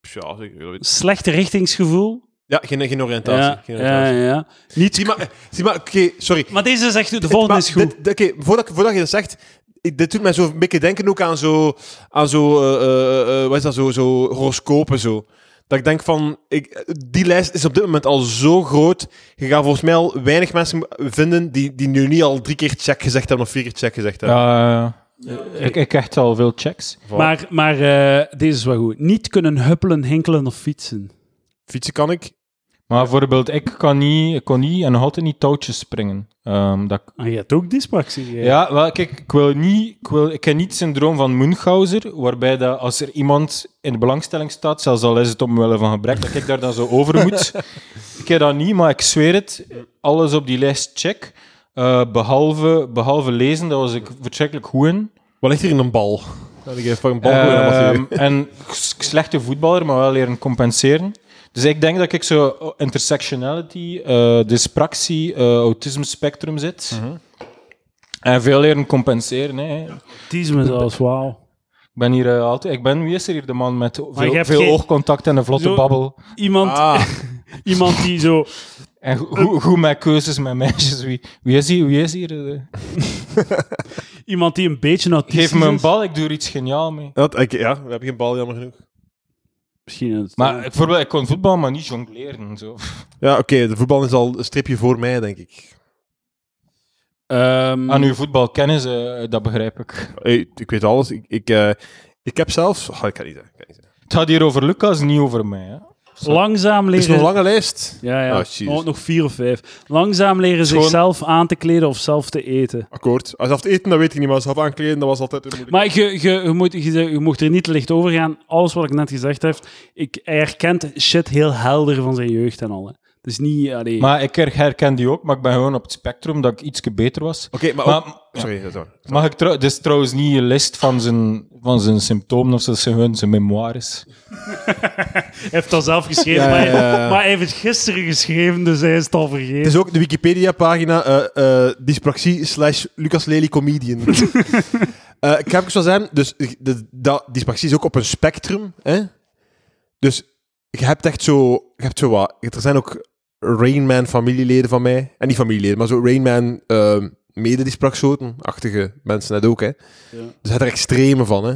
Ja, ik- slecht richtingsgevoel. ja geen, geen oriëntatie. Ja, geen oriëntatie. ja, ja. Niet, Zie maar, zie maar oké, sorry. maar deze is echt, de Het- maar volgende is goed. dit- dit- Oké, voordat, ik- voordat je dat zegt, ik- dit doet mij zo een beetje denken ook aan zo, aan zo, eh, eh, eh, wat is dat, zo, zo horoscopen zo. Dat ik denk van, ik, die lijst is op dit moment al zo groot. Je gaat volgens mij al weinig mensen vinden die, die nu niet al drie keer check gezegd hebben of vier keer check gezegd hebben. Ja, eh, ik, ik echt al veel checks. Maar, maar eh, deze is wel goed. Niet kunnen huppelen, hinkelen of fietsen. Fietsen kan ik. Maar bijvoorbeeld, ik, kan niet, ik kon niet en nog altijd niet touwtjes springen. Ehm, dat, ik- Ah, je hebt ook dyspraxie. hè? ja, wel, kijk, ik wil niet... Ik, wil, ik heb niet het syndroom van Munchausen, waarbij dat als er iemand in de belangstelling staat, zelfs al is het omwille van gebrek, dat ik daar dan zo over moet. ik heb dat niet, maar ik zweer het, alles op die lijst check. Eh, behalve, behalve lezen, daar was ik verschrikkelijk goed in. Wat ligt hier in een bal? Dat ik even een bal gooien, amateur. Ehm, en s- slechte voetballer, maar wel leren compenseren. Dus ik denk dat ik zo oh, intersectionality, eh dyspraxie, eh, autisme spectrum zit. En veel leren compenseren. Hè. Ik Autisme zelfs, wauw. ben hier eh, altijd. Ik ben, wie is er hier de man met je veel, hebt veel geen- oogcontact en een vlotte Zo- babbel? Iemand, Ah, iemand die zo... En go- goed- goed met keuzes met meisjes. Wie, wie is hier? Wie is hier? eh? Iemand die een beetje autistisch Geef me een is. bal, ik doe er iets geniaal mee. dat, ik, ja, we hebben geen bal, jammer genoeg. Misschien in het... Maar ik- bijvoorbeeld, ik kon voetbal, maar niet jongleren. en Zo. Ja, oké, de voetbal is al een stripje voor mij, denk ik. Ah, Ehm, Aan uw voetbalkennis, eh, dat begrijp ik. Hey, ik weet alles. Ik, ik, eh, ik heb zelfs... Oh, ik kan niet zeggen. ik kan niet zeggen. Het gaat hier over Lucas, niet over mij. Hè? Langzaam Het is nog leren... een lange lijst. Ja, ja. Oh, Jesus. nog, nog vier of vijf. Langzaam leren Schoon- zichzelf aan te kleden of zelf te eten. Akkoord. Als af te eten, dat weet ik niet, maar zelf aankleden, dat was altijd weer moeilijk. Maar je, je, je, moet, je, je mocht er niet te licht over gaan. Alles wat ik net gezegd heb, ik, hij herkent shit heel helder van zijn jeugd en al. Hè. Het is niet... Allee, Maar ik her- herken die ook, maar ik ben gewoon op het spectrum dat ik ietsje beter was. Oké, maar, ook- Maar, Sorry, dat is waar. mag ik trouw- dit is trouwens niet een list van zijn, van zijn symptomen of zijn, zijn, zijn memoires. Hij heeft dat zelf geschreven, Ja, maar, hij- ja, ja. maar hij heeft het gisteren geschreven, dus hij is het al vergeten. Het is ook de Wikipedia-pagina eh, eh, dyspraxie slash Lucas Lely comedian. Eh, ik heb ook zo zeggen, dus de, dat dyspraxie is ook op een spectrum. Hè? Dus je hebt echt zo, je hebt zo wat. Er zijn ook Rainman familieleden van mij. En niet familieleden, maar zo Rainman eh mede-dyspraxoten-achtige mensen net ook. Hè? Dus je hebt er extreme van, hè?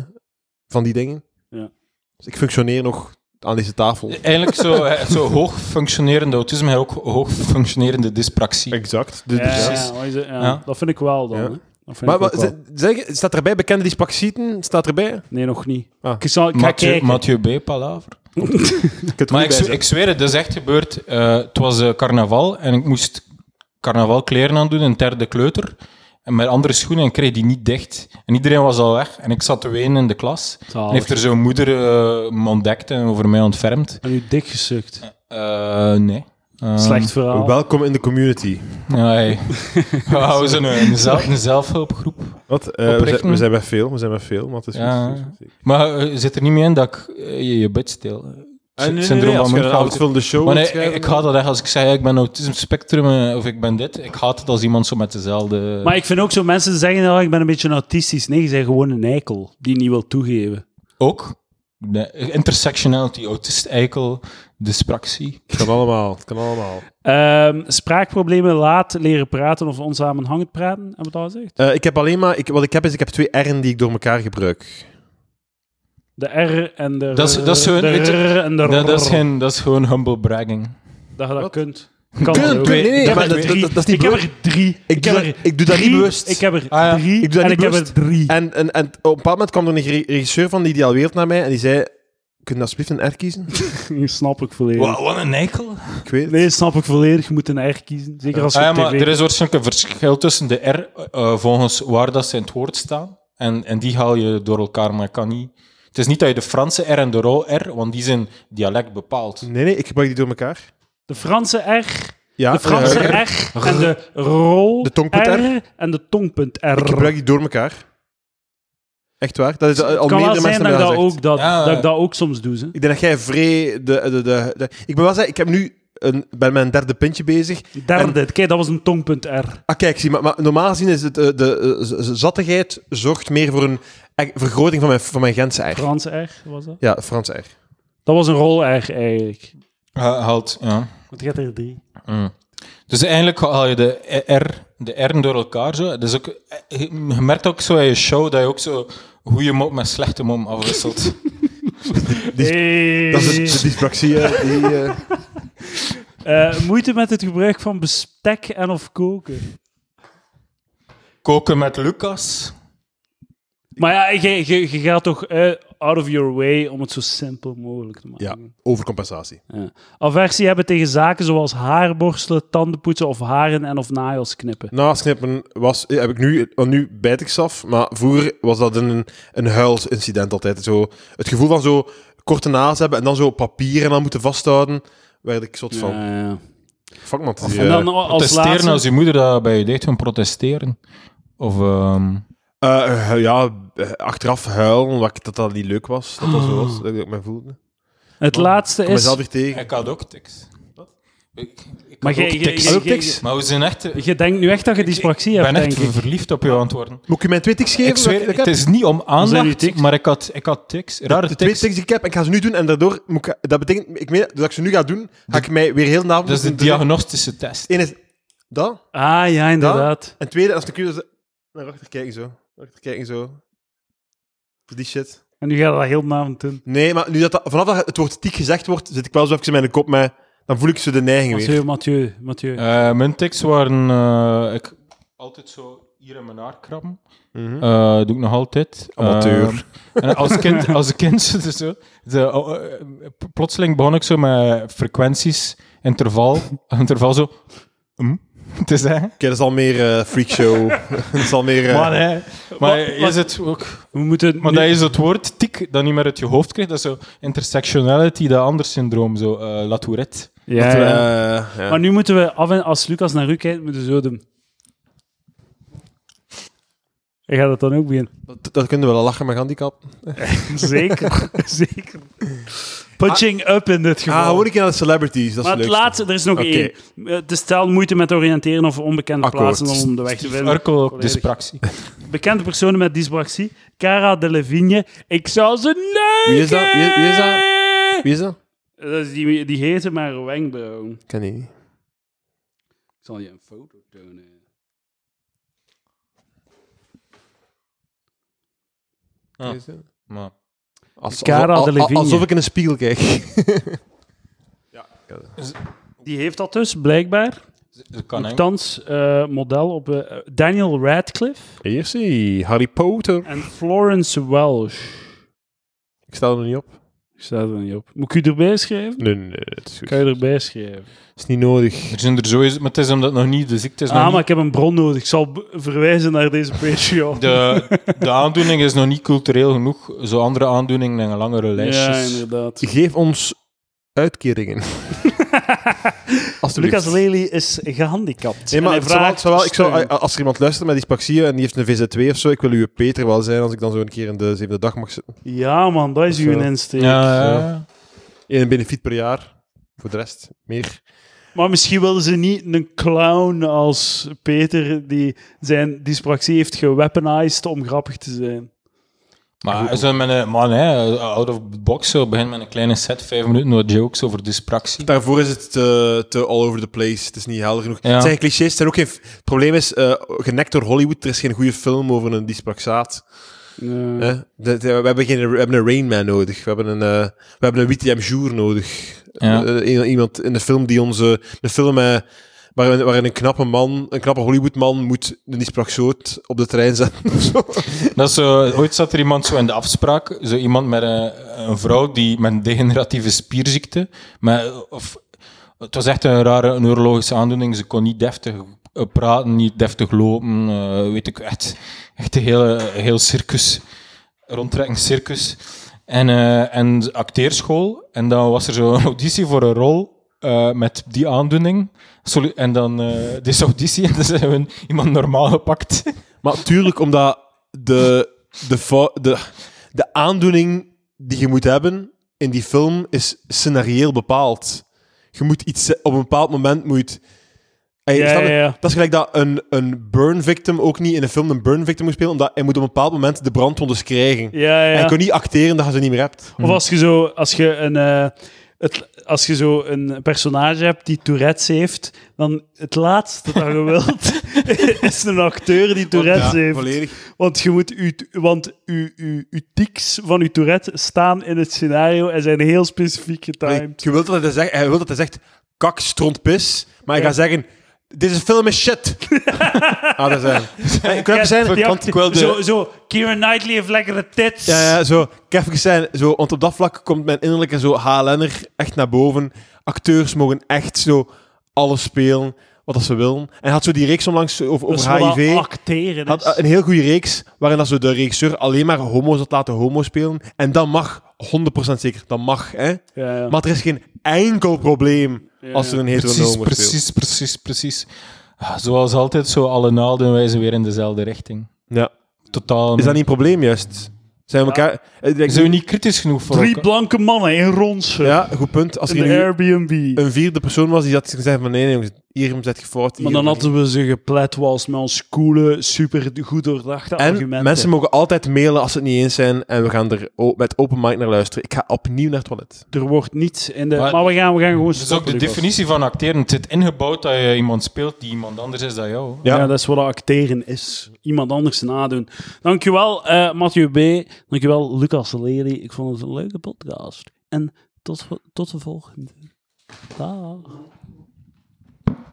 van die dingen. Ja. Dus ik functioneer nog aan deze tafel. Eigenlijk zo, eh, zo hoog functionerende autisme en ook hoog functionerende dyspraxie. Exact. Ja, ja, precies. wat is het? Ja, Ja. Dat vind ik wel dan. Ja. Hè. Dat vind Maar, ik maar ook wel. ze- zeg, staat erbij bekende dyspraxieten? Staat erbij? Nee, nog niet. Ah. Ik, zal, ik ga Mathieu, kijken. Mathieu B. Palaver. Ik heb het Maar goed ik, bij zwe- ik zweer het, dat is echt gebeurd. Eh, het was eh, carnaval en ik moest carnavalkleren aandoen, een derde kleuter. En met andere schoenen en ik kreeg die niet dicht. En iedereen was al weg en ik zat te wenen in de klas. Zalig. En heeft er zo'n moeder eh, me ontdekt en over mij ontfermd. En u dik gesukt. Ehm, Eh, nee. Eh, Slecht verhaal. Welkom in de community. Ja, hey. We houden zo'n een, zelf, een zelfhulpgroep. Wat? Eh, we, Oprichten. zijn, we zijn bij veel, we zijn bij veel, maar het is Ja. goed, het is goed. Maar eh, zit er niet meer in dat ik eh, je, je bed stil. Ah, nee, nee, nee, Syndroom als van je een Munchausen. avondvullende show Maar wilt nee, ik, schrijven, ik haat dat echt als ik zeg ik ben autisme spectrum eh, of ik ben dit. Ik haat het als iemand zo met dezelfde. Maar ik vind ook zo mensen zeggen, oh, ik ben een beetje autistisch. Nee, je bent gewoon een eikel die niet wil toegeven. Ook. Nee, intersectionality, autist, eikel, dyspraxie. Het kan allemaal, het kan allemaal. Ehm, spraakproblemen, laat leren praten of onsamenhangend praten. Hebben we het al gezegd? Eh, ik heb alleen maar, ik, wat ik heb is, ik heb twee R'en die ik door elkaar gebruik. De R en de R. Dat is- dat is zo'n- de weet je- R en de R. Dat, dat, is geen, dat is gewoon humble bragging. Dat je dat kunt. Kunt, dat ook. nee, nee, nee, Ik heb maar er dat- drie. dat- dat is niet Ik heb bewust. er drie. Ik doe heb dat- er ik doe dat niet drie. bewust. Ik heb er Ah, ja. drie Ik doe dat en niet ik heb er bewust. drie. En, en, en op een bepaald moment kwam er een re- regisseur van de Ideaal Wereld naar mij en die zei, kun je alsjeblieft een R kiezen? snap ik volledig. Wat, een eikel. ik weet het. Nee, snap ik volledig. Je moet een R kiezen. Zeker als je Ah ja, op maar tv... er is waarschijnlijk een verschil tussen de R eh, volgens waar dat ze in het woord staan. En, en die haal je door elkaar, maar kan niet. Het is niet dat je de Franse R en de rol R, want die zijn dialect bepaald. Nee, nee, ik gebruik die door elkaar. De Franse R, Ja, de Franse eh, R en de rol De tongpunt R en de tongpunt R. Ik gebruik die door elkaar. Echt waar? Dat is al Het kan wel meerdere zijn mensen dat ik hebben dat, gezegd. ook, dat, Ja. dat ik dat ook soms doe. Hè. Ik denk dat jij vrij... De, de, de, de- ik ben wel zeggen, ik heb nu een, ben mijn derde puntje bezig. Derde, kijk, dat was een tongpunt R. Ah, kijk, zie, maar, maar normaal gezien is het, eh, de eh, z- z- zattigheid zorgt meer voor een e- vergroting van mijn, van mijn Gentse eier. Franse R was dat? ja, Frans eier. Dat was een rol R eigenlijk. Ha- haalt, ja. Want je hebt er drie. Mm. Dus eigenlijk haal je de R, de R'en door elkaar. Zo. Dus ook, eh, je merkt ook zo in je show dat je ook zo goede mop met slechte mop afwisselt. Dus- Die- Hey. Dat is de, de dyspraxie. eh, die, eh, Eh, moeite met het gebruik van bestek en of koken. Koken met Lucas. Maar ja, je, je, je gaat toch... eh, out of your way om het zo simpel mogelijk te maken. Ja, overcompensatie. Ja. Aversie hebben tegen zaken zoals haarborstelen, tandenpoetsen of haren en of nagels knippen. Naasknippen was, eh, heb ik nu, want nu bijt ik af, maar vroeger was dat een, een huilsincident altijd. Zo, het gevoel van zo korte naals hebben en dan zo papieren aan moeten vasthouden, werd ik zot van. Ja, Eh, ja. Fuck man, het is, En eh, dan als protesteren laatste... als je moeder dat bij je deed, van protesteren. Of ehm, eh, eh, ja, eh, achteraf huilen, omdat ik, dat dat niet leuk was, dat dat zo was, dat ik me voelde. Ik Het laatste kom mezelf is... weer tegen. ik had ook tics. Ik, ik Maar had ook je- je- tics. je- Had ook je- tics? Maar we zijn echt. Ik Je denkt nu echt dat je dyspraxie ben hebt, echt denk ik. verliefd op jouw antwoorden. Moet ik je mijn twee tics geven? Ik zweer, Dat ik het dat heb? is niet om zijn die aandacht, tics? maar ik had, ik had tics. Rare de twee tics. tics die ik heb, ik ga ze nu doen en daardoor moet ik, dat betekent, ik meen, dat als ik ze nu ga doen, ga ik mij weer heel de avond Dat is Dus de moeten- diagnostische test. Eén is dat. Ah, ja, inderdaad. En tweede, als de computer... ze- Naar achter kijken zo. Naar achter kijken zo. Die shit. En nu ga je dat heel de avond doen. Nee, maar nu dat, dat- vanaf dat het woord tiek gezegd wordt, zit ik wel zo even in mijn kop, maar dan voel ik ze de neiging Mathieu, weer. Mathieu, Mathieu. Eh, mijn tics waren... eh, ik altijd zo hier in mijn haar krabben. Mhm. Eh, doe ik nog altijd. Amateur. Eh, en als kind, als kind zo- zo, zo, oh, eh, p- plotseling begon ik zo met frequenties, interval, interval zo... hm, te zeggen. Oké, dat is al meer eh, freakshow. dat is al meer... eh, Maar, nee, maar Wat- wat- is het ook... We moeten Maar nu- dat is het woord tik dat niet meer uit je hoofd krijgt. Dat is zo intersectionality, dat ander syndroom, zo eh La Tourette. Ja, eh, ja. ja. Maar nu moeten we, af en, als Lucas naar u kijkt, moeten we zo doen. Ik ga dat dan ook beginnen. dat, dat kunnen we wel lachen met handicap. Zeker, zeker. Punching up in dit Ah, geval. gewoon een keer naar de celebrities, dat is maar het leuk. laatste, er is nog Oké. één. Eh, Het is stel moeite met oriënteren of onbekende Akkoord. plaatsen om de weg te vinden. Urkel, ook Volledig. dyspraxie. Bekende personen met dyspraxie. Cara Delevingne. Ik zou ze neuken! Wie is dat? Wie, wie is dat? Wie is dat? Dat is die, die heette maar wenkbrauw. Ik Ik ken die niet. zal je een foto tonen. Ah. Wie is dat? Maar... Als- Cara als- als- Delevingne. Alsof ik in een spiegel kijk. Die heeft dat dus, blijkbaar. Ze kan eng. Nochtans eh, model op eh, Daniel Radcliffe Hier zie Harry Potter. en Florence Welsh. Ik sta er nog niet op. Ik sta er niet op. Moet ik u erbij schrijven? Nee, nee, nee, het is goed. Kan je erbij schrijven? Het is niet nodig. Er zijn er sowieso, maar het is omdat het nog niet de ziekte is. nog Ah, maar niet- ik heb een bron nodig. Ik zal b- verwijzen naar deze Patreon. de, de aandoening is nog niet cultureel genoeg. Zo andere aandoeningen en langere ja, lijstjes. inderdaad. Geef ons uitkeringen. Alsjeblieft. Lucas Lely is gehandicapt. Nee, maar En het hij zou wel- vraagt het zou wel- ik zou, steun. als er iemand luistert met dyspraxie en die heeft een VZ2 of zo, ik wil uw Peter wel zijn als ik dan zo een keer in de zevende dag mag zitten. Ja, man, dat is Of zo. uw insteek. ja, zo. ja. Eén benefiet per jaar. Voor de rest, meer. Maar misschien wilden ze niet een clown als Peter die zijn dyspraxie heeft geweaponized om grappig te zijn. Maar zo met een, man, hè, out of the box, zo begint met een kleine set, vijf minuten, wat jokes over dyspraxie. Daarvoor is het te, te all over the place. Het is niet helder genoeg. Ja. Het zijn clichés. Het, zijn ook geen, het probleem is, eh, genekt door Hollywood, er is geen goede film over een dyspraxaat. Ja. Hè? Dat- eh, we, hebben geen, we hebben een Rain Man nodig. We hebben een, eh we hebben een Witty M. Jour nodig. Ja. Eh, eh, iemand in de film die onze... Een film eh, waarin, waarin een knappe man, een knappe Hollywoodman moet een dyspraxoot op de trein zetten. of zo. Dat is zo, ooit zat er iemand zo in de afspraak, zo iemand met een, een vrouw die met een degeneratieve spierziekte, met, of, het was echt een rare neurologische aandoening, ze kon niet deftig eh, praten, niet deftig lopen, eh, weet ik, echt, echt een hele, heel circus, rondtrekkend circus. En, eh, en acteerschool, en dan was er zo'n auditie voor een rol eh, met die aandoening. Solu- en dan eh deze auditie, en dan zijn we iemand normaal gepakt. maar tuurlijk, omdat de, de, fou- de, de aandoening die je moet hebben in die film is scenarioel bepaald. Je moet iets... Op een bepaald moment moet... Hey, Ja, snap ja, je? ja. Dat is gelijk dat een, een burn victim ook niet in een film een burn victim moet spelen, omdat hij moet op een bepaald moment de brandwondes krijgen. Ja, En ja. je kan niet acteren dat je ze niet meer hebt. Of als je zo, als je een, eh, het, als je zo een personage hebt die Tourette's heeft, dan het laatste dat je wilt is een acteur die Tourette's heeft. volledig. Want je moet u, want u, u, uw tics van uw Tourette staan in het scenario en zijn heel specifiek getimed. Je wilt dat hij zegt, hij wil dat hij zegt kak, stront, pis, maar hij Ja. gaat zeggen Deze film is shit. ah, dat zijn. En Kevin zijn, Die want had- ik wil de- zo, zo, Keira Knightley heeft lekkere tits. ja, ja, zo. Kevin zijn, zo, want op dat vlak komt mijn innerlijke zo HLN'er echt naar boven. Acteurs mogen echt zo alles spelen wat dat ze willen. En hij had zo die reeks onlangs over, Dat is over wat dat HIV. acteren dus- had is. eh, een heel goede reeks waarin dat zo de regisseur alleen maar homo's had laten homo spelen. En dat mag, 100% zeker, dat mag. Hè? Ja, ja. Maar er is geen enkel probleem als er een hetero en een Precies, homo speelt. precies, precies, precies. Ah, Zoals altijd, zo alle naalden wijzen weer in dezelfde richting. Ja. Totaal. Is dat niet een probleem juist? Zijn we Ja. elkaar... eh, ik- Zijn we niet kritisch genoeg voor Drie elkaar? blanke mannen in ronsen. Ja, goed punt. Als in er de nu Airbnb. een vierde persoon was die had gezegd van nee, nee, jongens, hier zet je fout. maar hier- dan hadden we ze geplet was met ons coole, super goed doordachte En argumenten. mensen mogen altijd mailen als ze het niet eens zijn en we gaan er o- met open mic naar luisteren. Ik ga opnieuw naar het toilet. Er wordt niets in de... Maar, Maar- we, gaan, we gaan gewoon Dat is Dus ook de stoppen, Lucas. definitie van acteren. Het zit ingebouwd dat je iemand speelt die iemand anders is dan jou. Ja. Ja. dat is wat acteren is. Iemand anders nadoen. Dankjewel, eh Mathieu B. Dankjewel, Lucas Lely. Ik vond het een leuke podcast. En tot, tot de volgende. Dag.